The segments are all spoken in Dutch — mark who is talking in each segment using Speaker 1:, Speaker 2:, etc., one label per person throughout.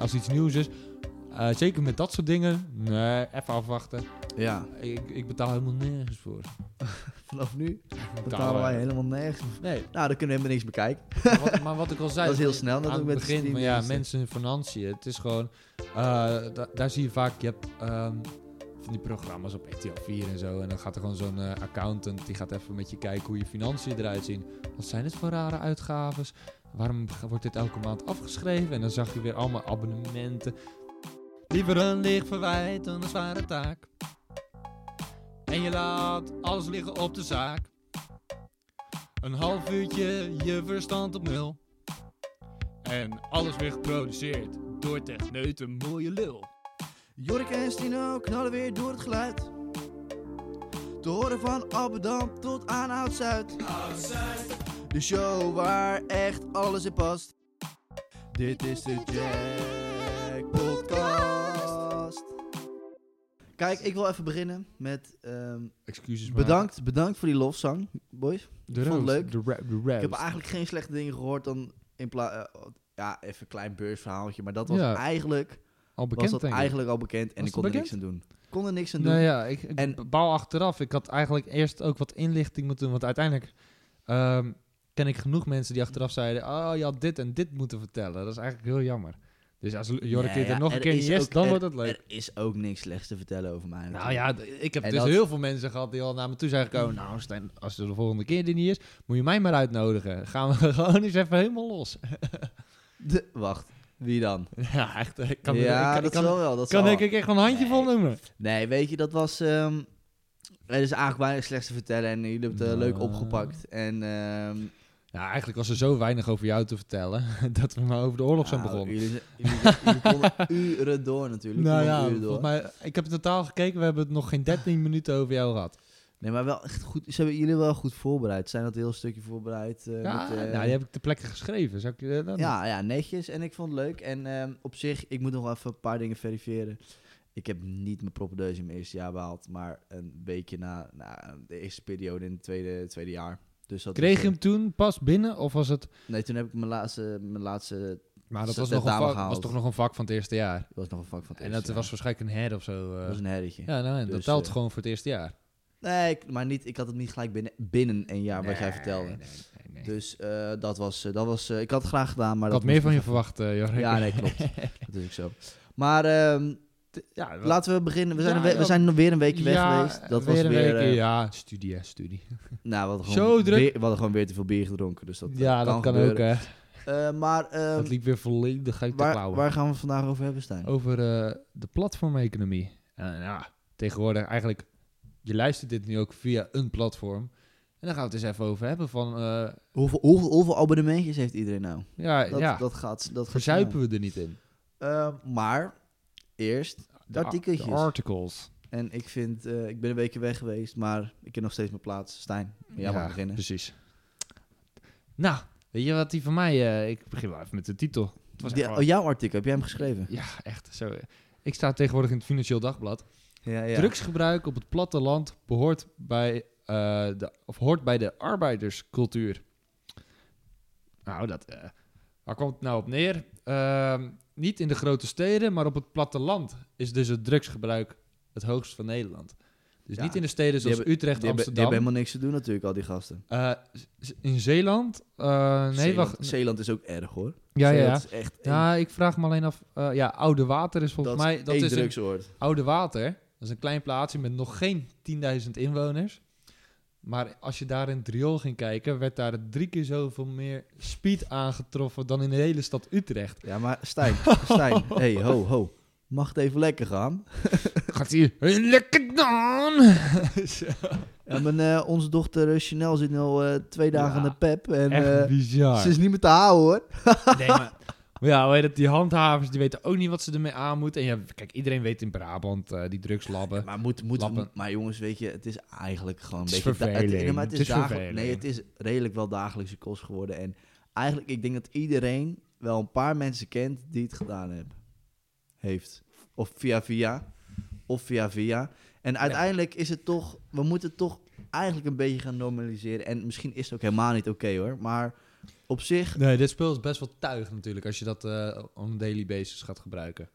Speaker 1: Als iets nieuws is. Eh, zeker met dat soort dingen. Nee, even afwachten.
Speaker 2: Ja,
Speaker 1: Ik, ik betaal helemaal nergens voor. eh,
Speaker 2: vanaf nu betalen wij helemaal nergens.
Speaker 1: Nee,
Speaker 2: Nou, dan kunnen we helemaal niks bekijken.
Speaker 1: maar wat, maar wat ik al zei.
Speaker 2: Dat is heel snel
Speaker 1: aan het
Speaker 2: natuurlijk met de
Speaker 1: begin, maar ja,
Speaker 2: streamingdiensten.
Speaker 1: mensen in financiën. Het is gewoon, eh, da- daar zie je vaak, je hebt ehm, van die programma's op RTL 4 en zo. En dan gaat er gewoon zo'n eh, accountant, die gaat even met je kijken hoe je financiën eruit zien. Wat zijn dit voor rare uitgaves? Waarom g- wordt dit elke maand afgeschreven? En dan zag je weer allemaal abonnementen. Liever een licht verwijt dan een zware taak. En je laat alles liggen op de zaak. Een half uurtje je verstand op nul. En alles weer geproduceerd door techneuten mooie lul.
Speaker 2: Jorik en Stino knallen weer door het geluid. Te horen van Albedam tot aan Oud-Zuid. De show waar echt alles in past. Dit is de Jack Podcast. Kijk, ik wil even beginnen met ehm,
Speaker 1: Excuses maar.
Speaker 2: bedankt, bedankt voor die lofzang, boys.
Speaker 1: De
Speaker 2: vond het
Speaker 1: roast,
Speaker 2: leuk.
Speaker 1: De rap, de
Speaker 2: Ik heb
Speaker 1: roast.
Speaker 2: eigenlijk geen slechte dingen gehoord dan in plaats... ja, even een klein beursverhaaltje, maar dat was
Speaker 1: Ja.
Speaker 2: eigenlijk,
Speaker 1: al
Speaker 2: was
Speaker 1: bekend
Speaker 2: dat
Speaker 1: denk ik.
Speaker 2: eigenlijk al bekend en
Speaker 1: Was
Speaker 2: ik kon er
Speaker 1: het
Speaker 2: niks aan doen. Kon er niks aan doen.
Speaker 1: Nou ja, ik, ik
Speaker 2: En-
Speaker 1: bouw achteraf. Ik had eigenlijk eerst ook wat inlichting moeten doen. Want uiteindelijk ehm, ken ik genoeg mensen die achteraf zeiden... Oh, je had dit en dit moeten vertellen. Dat is eigenlijk heel jammer. Dus als Jorik
Speaker 2: Nee,
Speaker 1: dit
Speaker 2: ja,
Speaker 1: er nog een
Speaker 2: er
Speaker 1: keer in
Speaker 2: is
Speaker 1: yes,
Speaker 2: ook-
Speaker 1: dan
Speaker 2: er-
Speaker 1: wordt het leuk.
Speaker 2: Er is ook niks slechts te vertellen over mij.
Speaker 1: Nou ja, d- ik heb
Speaker 2: En
Speaker 1: dus
Speaker 2: dat- Mm.
Speaker 1: heel veel mensen gehad die al naar me toe zijn gekomen. Nou, Stijn, als er de volgende keer die niet is, moet je mij maar uitnodigen. Gaan we gewoon eens even helemaal los.
Speaker 2: De- wacht, wie dan?
Speaker 1: ja, echt. Ik kan,
Speaker 2: ja, eh,
Speaker 1: ik, kan-
Speaker 2: dat
Speaker 1: ik kan,
Speaker 2: zal wel.
Speaker 1: kan
Speaker 2: Dat zal
Speaker 1: denk
Speaker 2: wel.
Speaker 1: ik echt wel een handje
Speaker 2: Nee.
Speaker 1: vol noemen.
Speaker 2: Nee, weet je, dat was... ehm er is eigenlijk weinig slechts te vertellen en jullie hebben het eh, leuk
Speaker 1: Nou.
Speaker 2: opgepakt. En, ehm
Speaker 1: Ja, Nou, eigenlijk was er zo weinig over jou te vertellen dat we maar over de oorlog zijn
Speaker 2: nou,
Speaker 1: begonnen.
Speaker 2: Jullie, zijn- jullie, jullie konden uren door natuurlijk.
Speaker 1: Nou
Speaker 2: jullie
Speaker 1: ja,
Speaker 2: konden uren door.
Speaker 1: volgens mij, ik heb in totaal gekeken, we hebben het nog geen 13 minuten over jou gehad.
Speaker 2: Nee, maar wel echt goed. Ze hebben jullie wel goed voorbereid. Ze Zijn dat heel stukje voorbereid? eh,
Speaker 1: ja,
Speaker 2: met, eh,
Speaker 1: nou, die heb ik ter plekke geschreven. Zou ik je eh, dat
Speaker 2: Ja, ja, netjes. En ik vond het leuk. En ehm, op zich, ik moet nog wel even een paar dingen verifiëren. Ik heb niet mijn propedeuse in mijn eerste jaar behaald, maar een weekje na, na de eerste periode in het tweede, tweede jaar. Dus dat
Speaker 1: Kreeg
Speaker 2: is,
Speaker 1: je hem toen pas binnen of was het...
Speaker 2: eh, Nee, toen heb ik mijn laatste, mijn laatste,
Speaker 1: Maar dat
Speaker 2: Zet
Speaker 1: was,
Speaker 2: de
Speaker 1: nog een
Speaker 2: dame
Speaker 1: vak, was
Speaker 2: gehaald.
Speaker 1: toch nog een vak van het eerste jaar.
Speaker 2: dat was nog een vak van het
Speaker 1: En
Speaker 2: eerste
Speaker 1: dat was
Speaker 2: jaar.
Speaker 1: waarschijnlijk een head of zo. eh.
Speaker 2: Dat Dus, was een herretje.
Speaker 1: ja, nou, en dat
Speaker 2: Dus,
Speaker 1: telt
Speaker 2: eh,
Speaker 1: gewoon voor het eerste jaar.
Speaker 2: Nee, ik, maar niet, ik had het niet gelijk binnen, binnen een jaar, wat jij
Speaker 1: Nee,
Speaker 2: vertelde.
Speaker 1: nee, nee, nee.
Speaker 2: Dus eh, dat was, eh, dat was eh, ik had het graag gedaan, maar
Speaker 1: ik had
Speaker 2: dat
Speaker 1: meer
Speaker 2: moest
Speaker 1: van je
Speaker 2: nog
Speaker 1: verwacht, eh Jorik.
Speaker 2: even- Ja, nee, klopt. dat is ook zo. Maar ehm,
Speaker 1: ja, wel-
Speaker 2: laten we beginnen. We zijn,
Speaker 1: Ja,
Speaker 2: een we- we
Speaker 1: dat-
Speaker 2: zijn nog weer een weekje weg
Speaker 1: Ja,
Speaker 2: geweest. Dat
Speaker 1: weer
Speaker 2: was
Speaker 1: een
Speaker 2: weer,
Speaker 1: weekje,
Speaker 2: eh,
Speaker 1: ja, studie, hè, studie.
Speaker 2: Nou, we hadden,
Speaker 1: Zo
Speaker 2: gewoon
Speaker 1: druk.
Speaker 2: Weer, we hadden gewoon weer te veel bier gedronken. Dus dat eh,
Speaker 1: ja, dat kan ook, hè.
Speaker 2: gebeuren. Eh, maar ehm,
Speaker 1: dat liep weer volledig uit de
Speaker 2: waar,
Speaker 1: klauwen.
Speaker 2: waar gaan we het vandaag over hebben, Stijn?
Speaker 1: Over eh, de platformeconomie. En ja, tegenwoordig eigenlijk, je luistert dit nu ook via een platform. En daar gaan we het eens even over hebben van, eh,
Speaker 2: Hoeveel, hoeveel, hoeveel abonnementjes heeft iedereen nou?
Speaker 1: ja,
Speaker 2: Dat,
Speaker 1: ja
Speaker 2: dat gaat... Dat gaat
Speaker 1: verzuipen we er niet in.
Speaker 2: snel. Eh, maar eerst...
Speaker 1: De a-
Speaker 2: artikeltjes.
Speaker 1: De articles.
Speaker 2: En ik vind... eh, ik ben een weekje weg geweest, maar ik heb nog steeds mijn plaats. Stijn, jij mag beginnen.
Speaker 1: Precies. Nou, weet je wat die van mij, eh, ik begin wel even met de titel. Het was
Speaker 2: Die-
Speaker 1: echt
Speaker 2: oh,
Speaker 1: wel-
Speaker 2: jouw artikel, heb jij hem geschreven?
Speaker 1: ja, echt zo. eh. Ik sta tegenwoordig in het Financieel Dagblad.
Speaker 2: Ja, ja.
Speaker 1: Drugsgebruik op het platteland behoort bij, eh, de, of hoort bij de arbeiderscultuur. Nou, dat, eh, waar komt het nou op neer? Ehm, niet in de grote steden, maar op het platteland is dus het drugsgebruik het hoogst van Nederland. Dus
Speaker 2: Ja,
Speaker 1: niet in de steden
Speaker 2: die
Speaker 1: zoals
Speaker 2: hebben-
Speaker 1: Utrecht,
Speaker 2: Die hebben, die
Speaker 1: Amsterdam.
Speaker 2: hebben helemaal niks te doen natuurlijk, al die gasten.
Speaker 1: Eh, z- z- in Zeeland? Eh, nee,
Speaker 2: Zeeland,
Speaker 1: wacht.
Speaker 2: Zeeland is ook erg, hoor.
Speaker 1: ja, ja,
Speaker 2: Zeeland
Speaker 1: ja.
Speaker 2: is echt een-
Speaker 1: Ja, ik vraag me alleen af. eh, ja, Oude Water is
Speaker 2: dat
Speaker 1: volgens
Speaker 2: is
Speaker 1: mij. Dat
Speaker 2: één
Speaker 1: is een-
Speaker 2: drugsoord.
Speaker 1: Oude Water, dat is een klein plaatsje met nog geen 10.000 inwoners. Maar als je daar in het riool ging kijken, werd daar drie keer zoveel meer speed aangetroffen dan in de hele stad Utrecht.
Speaker 2: Ja, maar Stijn, Stijn, hey, ho, ho. Mag het even lekker gaan?
Speaker 1: Gaat hier lekker dan!
Speaker 2: Ja, mijn, eh, onze dochter eh, Chanel zit nu al eh, twee dagen
Speaker 1: Ja,
Speaker 2: in de pep. En
Speaker 1: Echt
Speaker 2: eh,
Speaker 1: bizar.
Speaker 2: ze is niet meer te houden, hoor.
Speaker 1: Nee, maar, maar ja, hoe heet het, die handhavers die weten ook niet wat ze ermee aan moeten. En ja, kijk, iedereen weet in Brabant eh, die drugslabben.
Speaker 2: Maar, moet, moet,
Speaker 1: Lappen.
Speaker 2: maar jongens, weet je, het is eigenlijk gewoon een
Speaker 1: Het is
Speaker 2: beetje... da-
Speaker 1: verveling.
Speaker 2: nee, maar het,
Speaker 1: Het
Speaker 2: is
Speaker 1: is
Speaker 2: dagel-
Speaker 1: verveling.
Speaker 2: Nee, het is redelijk wel dagelijkse kost geworden. En eigenlijk, ik denk dat iedereen wel een paar mensen kent die het gedaan hebben. Heeft. Of via via. Of via via. En uiteindelijk is het toch... We moeten het toch eigenlijk een beetje gaan normaliseren. En misschien is het ook helemaal niet oké, hoor. Maar op zich.
Speaker 1: Nee, dit spul is best wel tuig natuurlijk als je dat eh on a daily basis gaat gebruiken.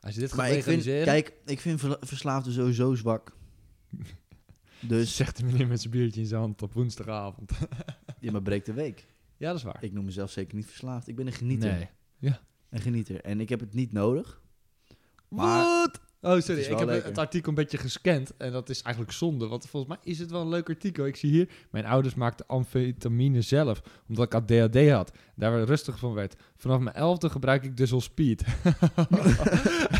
Speaker 1: Als je dit gaat
Speaker 2: Maar ik vind,
Speaker 1: legaliseren...
Speaker 2: kijk, ik vind verla- verslaafden sowieso zwak. Dus
Speaker 1: Zegt de meneer met zijn biertje in zijn hand op woensdagavond.
Speaker 2: je maar breekt de week.
Speaker 1: ja, dat is waar.
Speaker 2: Ik noem mezelf zeker niet verslaafd. Ik ben een genieter.
Speaker 1: Nee.
Speaker 2: Een genieter. En ik heb het niet nodig. Maar-
Speaker 1: Wat? Oh,
Speaker 2: Het
Speaker 1: sorry.
Speaker 2: is
Speaker 1: Ik
Speaker 2: wel
Speaker 1: heb
Speaker 2: lekker.
Speaker 1: het artikel een beetje gescand. En dat is eigenlijk zonde. Want volgens mij is het wel een leuk artikel. Ik zie hier... Mijn ouders maakten amfetamine zelf. Omdat ik ADHD had. Daar werd rustig van werd. Vanaf mijn elfde gebruik ik dus al speed.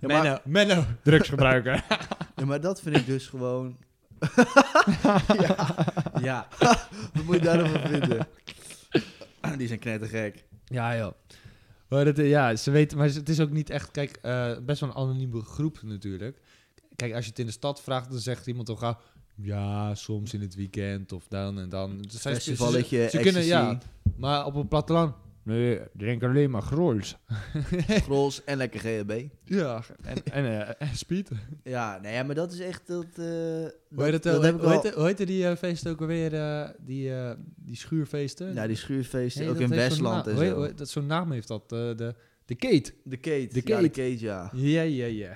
Speaker 1: Menno. Menno. Drugs gebruiken.
Speaker 2: Ja, maar dat vind ik dus gewoon... ja, ja. Wat moet je daarover vinden? Ah, Die zijn knettergek.
Speaker 1: ja, joh. Maar dat, eh, ja, ze weten... Maar het is ook niet echt... Kijk, eh, best wel een anonieme groep natuurlijk. Kijk, als je het in de stad vraagt... Dan zegt iemand toch gauw... Ja, soms in het weekend of dan en dan. Het zijn- ze- ze-
Speaker 2: Festivalletje,
Speaker 1: ze kunnen, ja,
Speaker 2: ecstasy,
Speaker 1: Maar op het platteland? Nee, drink alleen maar grols.
Speaker 2: grols en lekker GHB.
Speaker 1: Ja, en, en, eh, en speed.
Speaker 2: Ja, nee, maar dat is echt... Dat, eh,
Speaker 1: Hoe heet,
Speaker 2: dat,
Speaker 1: het, eh,
Speaker 2: dat
Speaker 1: hoe,
Speaker 2: heb
Speaker 1: heet-
Speaker 2: ik
Speaker 1: hoe
Speaker 2: wel...
Speaker 1: heet, hoe heette die eh, feesten ook alweer? eh, die, eh, die schuurfeesten?
Speaker 2: Ja, die schuurfeesten,
Speaker 1: Nee,
Speaker 2: ook
Speaker 1: dat
Speaker 2: in
Speaker 1: heeft zo'n
Speaker 2: Westland
Speaker 1: naam.
Speaker 2: en
Speaker 1: Hoe heet-
Speaker 2: zo.
Speaker 1: hoe heet dat zo'n naam heeft dat. eh, de, de Kate.
Speaker 2: De Kate.
Speaker 1: De
Speaker 2: Ja,
Speaker 1: Kate.
Speaker 2: de Kate, ja.
Speaker 1: Ja, ja, ja.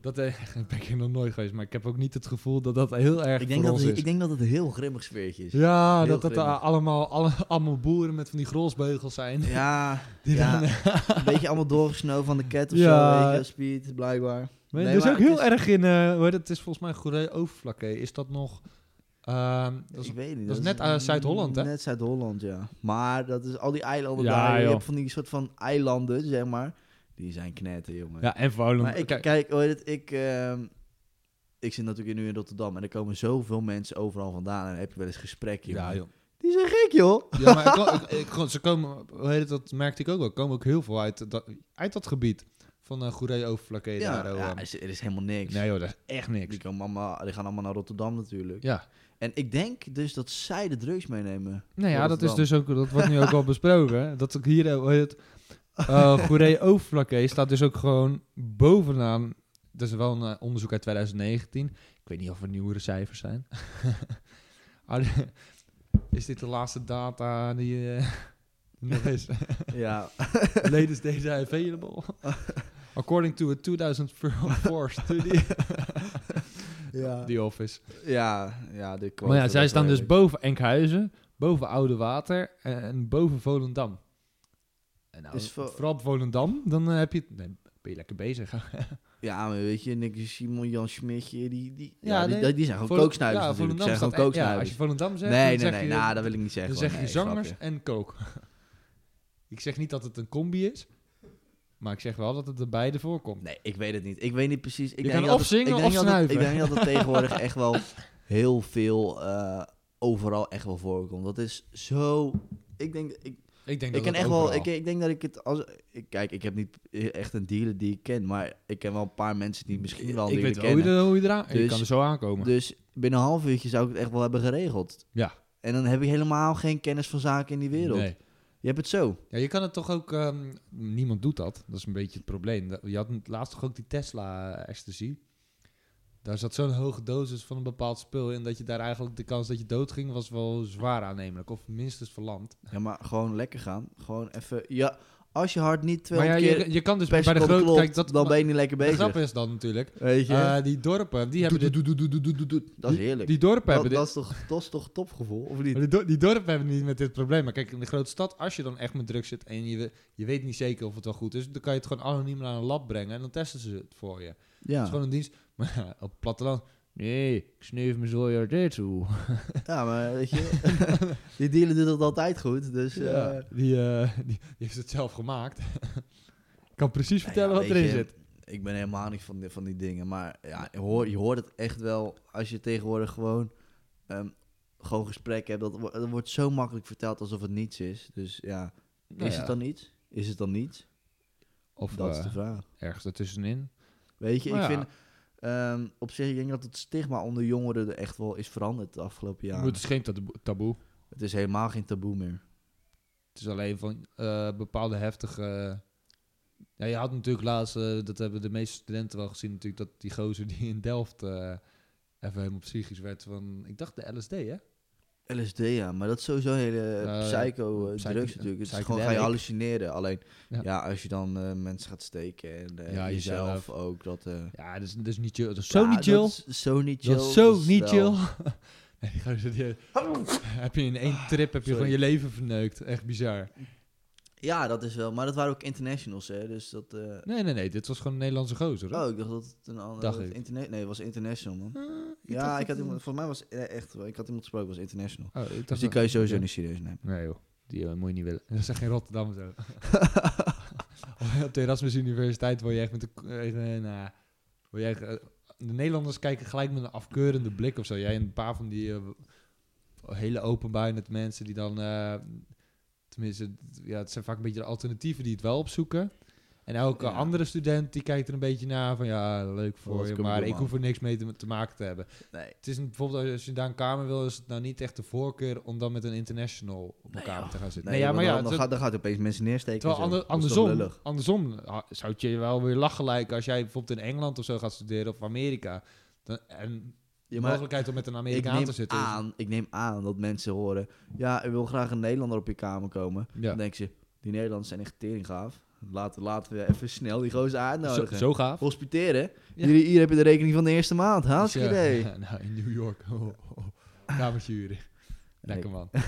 Speaker 1: Dat eh, ben ik er nog nooit geweest, maar ik heb ook niet het gevoel dat dat heel erg
Speaker 2: Ik denk,
Speaker 1: voor
Speaker 2: dat
Speaker 1: ons
Speaker 2: het,
Speaker 1: is.
Speaker 2: ik denk dat het een heel grimmig sfeertje is.
Speaker 1: ja,
Speaker 2: heel
Speaker 1: dat dat
Speaker 2: grimmig.
Speaker 1: eh, allemaal, alle, allemaal boeren met van die grolsbeugels zijn.
Speaker 2: Ja,
Speaker 1: Die
Speaker 2: ja.
Speaker 1: dan, eh,
Speaker 2: een beetje allemaal doorgesnoven van de cat of
Speaker 1: Ja.
Speaker 2: zo, weet je, speed, blijkbaar.
Speaker 1: Maar
Speaker 2: Nee,
Speaker 1: er is
Speaker 2: maar
Speaker 1: ook
Speaker 2: het
Speaker 1: heel
Speaker 2: is-
Speaker 1: erg in, eh, hoe heet het, het is volgens mij goeree overvlakke. Is dat nog... ehm, dat is-
Speaker 2: ik weet niet.
Speaker 1: dat is net aan Zuid-Holland, hè?
Speaker 2: Net Zuid-Holland, ja. Maar dat is al die eilanden
Speaker 1: Ja,
Speaker 2: daar. Je
Speaker 1: joh.
Speaker 2: hebt van die soort van eilanden, zeg maar. Die zijn knetten, jongen.
Speaker 1: ja, en Volendam.
Speaker 2: maar ik,
Speaker 1: Kijk,
Speaker 2: kijk, hoor het, ik, ehm, ik zit natuurlijk nu in Rotterdam en er komen zoveel mensen overal vandaan en dan heb je wel eens gesprekken, jongen.
Speaker 1: ja, joh.
Speaker 2: Die zijn gek, joh.
Speaker 1: ja, maar ik, kon- ik, ik kon- ze komen, hoe heet het, dat merkte ik ook wel, komen ook heel veel uit dat, uit dat gebied van eh goeree overvlakke.
Speaker 2: Ja,
Speaker 1: daar, oh,
Speaker 2: ja,
Speaker 1: ehm.
Speaker 2: er is, er is helemaal niks.
Speaker 1: nee joh, dat is echt niks.
Speaker 2: die, komen allemaal, die gaan allemaal naar Rotterdam natuurlijk.
Speaker 1: Ja,
Speaker 2: En ik denk dus dat zij de drugs meenemen.
Speaker 1: nou ja, dat is
Speaker 2: Rotterdam.
Speaker 1: dus ook, dat wordt nu ook al besproken. hè. Dat ik hier, eh, hoe heet het, eh goeree overvlakke staat dus ook gewoon bovenaan. Dat is wel een eh, onderzoek uit 2019. Ik weet niet of er nieuwere cijfers zijn. Ah, de- is dit de laatste data die eh nog is?
Speaker 2: Ja,
Speaker 1: Ladies, deze are available. According to a 2004 study.
Speaker 2: ja.
Speaker 1: The Office.
Speaker 2: Ja, ja, de
Speaker 1: Maar ja, zij staan dus boven Enkhuizen, boven Oude Water en, en boven Volendam. En nou,
Speaker 2: Is Vo-
Speaker 1: vooral op Volendam, dan eh, heb je... Nee, ben je lekker bezig.
Speaker 2: Ja, maar weet je, Nicky Simon, Jan Schmidtje, die, die, ja,
Speaker 1: Ja,
Speaker 2: die,
Speaker 1: nee.
Speaker 2: die- die zijn gewoon
Speaker 1: Vol-
Speaker 2: kooksnuivers
Speaker 1: ja,
Speaker 2: natuurlijk.
Speaker 1: Volendam
Speaker 2: Zijn gewoon
Speaker 1: staat echt- Ja, als
Speaker 2: kooksnuivers.
Speaker 1: je Volendam zegt,
Speaker 2: nee,
Speaker 1: dan
Speaker 2: nee,
Speaker 1: zeg
Speaker 2: nee,
Speaker 1: je,
Speaker 2: nou, dat wil ik niet zeggen.
Speaker 1: dan zeg
Speaker 2: hoor.
Speaker 1: je
Speaker 2: Nee,
Speaker 1: zangers
Speaker 2: grapje.
Speaker 1: en kook. ik zeg niet dat het een combi is, maar ik zeg wel dat het er beide voorkomt.
Speaker 2: Nee, ik weet het niet. Ik weet niet precies. Ik
Speaker 1: Je kan
Speaker 2: dat
Speaker 1: of
Speaker 2: het-
Speaker 1: zingen
Speaker 2: ik denk
Speaker 1: of
Speaker 2: dat het-
Speaker 1: snuiven.
Speaker 2: Ik denk dat het tegenwoordig echt wel heel veel eh, overal echt wel voorkomt. Dat is zo... Ik denk, ik,
Speaker 1: Ik denk
Speaker 2: ik
Speaker 1: dat
Speaker 2: ken
Speaker 1: dat
Speaker 2: echt wel,
Speaker 1: overal-
Speaker 2: ik, ik denk dat ik het als, ik, kijk, ik heb niet echt een dealer die ik ken, maar ik ken wel een paar mensen die misschien wel een
Speaker 1: ik
Speaker 2: dealer
Speaker 1: weet wel hoe
Speaker 2: kennen.
Speaker 1: je, er- hoe je eraan... je
Speaker 2: Dus-
Speaker 1: kan er zo aankomen.
Speaker 2: Dus binnen een half uurtje zou ik het echt wel hebben geregeld.
Speaker 1: Ja.
Speaker 2: En dan heb ik helemaal geen kennis van zaken in die wereld.
Speaker 1: Nee.
Speaker 2: Je hebt het zo.
Speaker 1: Ja, je kan het toch ook... ehm, niemand doet dat. Dat is een beetje het probleem. Da- Je had laatst toch ook die Tesla-ecstasy? daar zat zo'n hoge dosis van een bepaald spul in... dat je daar eigenlijk de kans dat je doodging... was wel zwaar aannemelijk. Of minstens verlamd.
Speaker 2: Ja, maar gewoon lekker gaan. Gewoon even. Ja, als je hart niet
Speaker 1: Maar
Speaker 2: 200
Speaker 1: ja,
Speaker 2: keer
Speaker 1: je, je kan dus
Speaker 2: per
Speaker 1: bij de
Speaker 2: seconde
Speaker 1: grote...
Speaker 2: klopt,
Speaker 1: Kijk, dat,
Speaker 2: dan ben je niet lekker
Speaker 1: de
Speaker 2: bezig.
Speaker 1: grap is dan natuurlijk...
Speaker 2: Weet je?
Speaker 1: eh, die dorpen, die hebben... dit-
Speaker 2: dat is heerlijk.
Speaker 1: Die dorpen
Speaker 2: dat,
Speaker 1: hebben dit...
Speaker 2: dat is toch, dat is toch topgevoel, of niet?
Speaker 1: Maar die, dor- die dorpen hebben niet met dit probleem. Maar kijk, in de grote stad, als je dan echt met drugs zit en je, we- je weet niet zeker of het wel goed is, dan kan je het gewoon anoniem naar een lab brengen en dan testen ze het voor je. Het is
Speaker 2: Ja.
Speaker 1: gewoon een dienst. Maar ja, op het platteland, nee, ik sneef me zo je dit toe.
Speaker 2: ja, maar weet je, die dealer doet dat altijd goed. Dus eh, nou
Speaker 1: Ja, die, eh, die, die heeft het zelf gemaakt. kan precies
Speaker 2: Nou ja,
Speaker 1: vertellen
Speaker 2: weet
Speaker 1: wat erin
Speaker 2: je,
Speaker 1: zit.
Speaker 2: Ik ben helemaal niet van die, van die dingen. Maar ja, je, hoort, je hoort het echt wel als je tegenwoordig gewoon, ehm, gewoon gesprekken hebt. Dat, wo- dat wordt zo makkelijk verteld alsof het niets is. Dus ja, is
Speaker 1: Nou ja,
Speaker 2: het dan iets? Is het dan niets?
Speaker 1: Of
Speaker 2: dat
Speaker 1: eh,
Speaker 2: is de vraag.
Speaker 1: ergens ertussenin.
Speaker 2: Weet je,
Speaker 1: Maar
Speaker 2: ik
Speaker 1: ja.
Speaker 2: vind ehm, op zich, ik denk dat het stigma onder jongeren er echt wel is veranderd de afgelopen jaren.
Speaker 1: Het is geen taboe- taboe.
Speaker 2: Het is helemaal geen taboe meer.
Speaker 1: Het is alleen van eh, bepaalde heftige. Ja, je had natuurlijk laatst, eh, dat hebben de meeste studenten wel gezien, natuurlijk, dat die gozer die in Delft eh, even helemaal psychisch werd van. Ik dacht de LSD, hè?
Speaker 2: LSD, ja, maar dat is sowieso een hele
Speaker 1: Ja,
Speaker 2: psycho-drugs
Speaker 1: Eh, psycho-
Speaker 2: natuurlijk. Het is gewoon ga je
Speaker 1: psychedelic.
Speaker 2: hallucineren. Alleen, ja,
Speaker 1: Ja.
Speaker 2: als je dan eh, mensen gaat steken en eh,
Speaker 1: Ja,
Speaker 2: jezelf,
Speaker 1: jezelf.
Speaker 2: ook, dat... eh,
Speaker 1: Ja, dat is, dat is niet chill. Dat is zo
Speaker 2: ja,
Speaker 1: niet chill.
Speaker 2: Dat is zo niet chill.
Speaker 1: Dat is zo
Speaker 2: is
Speaker 1: niet
Speaker 2: wel-
Speaker 1: chill. nee, gozer, die- heb je in één trip heb je
Speaker 2: sorry.
Speaker 1: gewoon je leven verneukt. Echt bizar.
Speaker 2: Ja, dat is wel. Maar dat waren ook internationals, hè. Dus dat... eh,
Speaker 1: Nee, nee, nee. Dit was gewoon een Nederlandse gozer. hoor.
Speaker 2: Oh, ik dacht dat het een ander...
Speaker 1: Dacht
Speaker 2: dat het
Speaker 1: ik.
Speaker 2: interna- nee, het was international, man.
Speaker 1: Eh,
Speaker 2: ja,
Speaker 1: dacht
Speaker 2: ik had
Speaker 1: dat-
Speaker 2: iemand... Volgens mij was... eh, echt, ik had iemand gesproken, was international.
Speaker 1: Oh, ik dacht
Speaker 2: Dus die
Speaker 1: dat-
Speaker 2: kan je sowieso
Speaker 1: ja.
Speaker 2: niet serieus nemen.
Speaker 1: Nee joh, die eh, moet je niet willen. Dat is echt geen Rotterdam zo. Op de Erasmus Universiteit word je echt met de... eh, eh, nou, word je echt, eh, de Nederlanders kijken gelijk met een afkeurende blik of zo. Jij en een paar van die eh, hele openbuinend mensen die dan... eh, tenminste, ja, het zijn vaak een beetje de alternatieven die het wel opzoeken. En elke
Speaker 2: Ja.
Speaker 1: andere student die kijkt er een beetje naar van ja, leuk voor
Speaker 2: Wat
Speaker 1: je,
Speaker 2: kan ik
Speaker 1: maar
Speaker 2: doen,
Speaker 1: ik
Speaker 2: man?
Speaker 1: hoef er niks mee te, te maken te hebben.
Speaker 2: Nee.
Speaker 1: Het is een- bijvoorbeeld als je daar een kamer wil, is het nou niet echt de voorkeur om dan met een international op een
Speaker 2: Nee,
Speaker 1: kamer
Speaker 2: joh.
Speaker 1: te gaan zitten.
Speaker 2: Nee,
Speaker 1: Nou ja,
Speaker 2: want
Speaker 1: maar ja,
Speaker 2: dan, dan,
Speaker 1: ter-
Speaker 2: gaat, dan gaat het opeens mensen neersteken.
Speaker 1: terwijl
Speaker 2: en zo.
Speaker 1: ander-
Speaker 2: Dat is toch
Speaker 1: andersom,
Speaker 2: lullig?
Speaker 1: andersom ha- zou het je wel weer lachen lijken als jij bijvoorbeeld in Engeland of zo gaat studeren of Amerika. Dan, en de
Speaker 2: Ja, maar
Speaker 1: mogelijkheid om met een
Speaker 2: ik
Speaker 1: Amerikaan
Speaker 2: neem,
Speaker 1: te zitten. dus. is-
Speaker 2: aan, ik neem aan dat mensen horen... Ja, er wil graag een Nederlander op je kamer komen.
Speaker 1: ja.
Speaker 2: Dan denken ze, die Nederlanders zijn echt teringgaaf. Laten, laten we even snel die gozer
Speaker 1: zo,
Speaker 2: uitnodigen.
Speaker 1: zo gaaf.
Speaker 2: Hospiteren.
Speaker 1: Ja.
Speaker 2: Hier, hier heb je de rekening van de eerste maand. Hartstikke
Speaker 1: Dus, eh,
Speaker 2: idee.
Speaker 1: nou, in New York. Oh, oh, oh. Kamertje huren. Lekker man.
Speaker 2: Ja,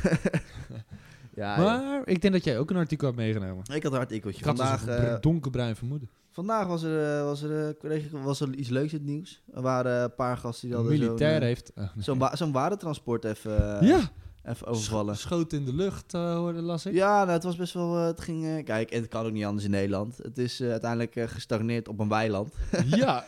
Speaker 2: ja.
Speaker 1: Maar ik denk dat jij ook een artikel hebt meegenomen.
Speaker 2: Ik had een hard ikkeltje.
Speaker 1: Ik had dus
Speaker 2: Vandaag,
Speaker 1: een
Speaker 2: eh,
Speaker 1: br- donkerbruin vermoeden.
Speaker 2: vandaag was, er, eh, was, er, eh, kreeg ik- was er iets leuks in het nieuws. Er waren eh, een paar gasten die
Speaker 1: Een
Speaker 2: hadden zo'n,
Speaker 1: militair
Speaker 2: eh,
Speaker 1: heeft... oh, nee.
Speaker 2: zo'n, wa- zo'n warentransport even, eh,
Speaker 1: ja.
Speaker 2: even overvallen.
Speaker 1: Scho- Schoot in de lucht, eh, hoorde las ik.
Speaker 2: Ja, nou, het was best wel. eh, het ging. eh, kijk, en het kan ook niet anders in Nederland. Het is eh, uiteindelijk eh, gestagneerd op een weiland.
Speaker 1: Ja,
Speaker 2: Dan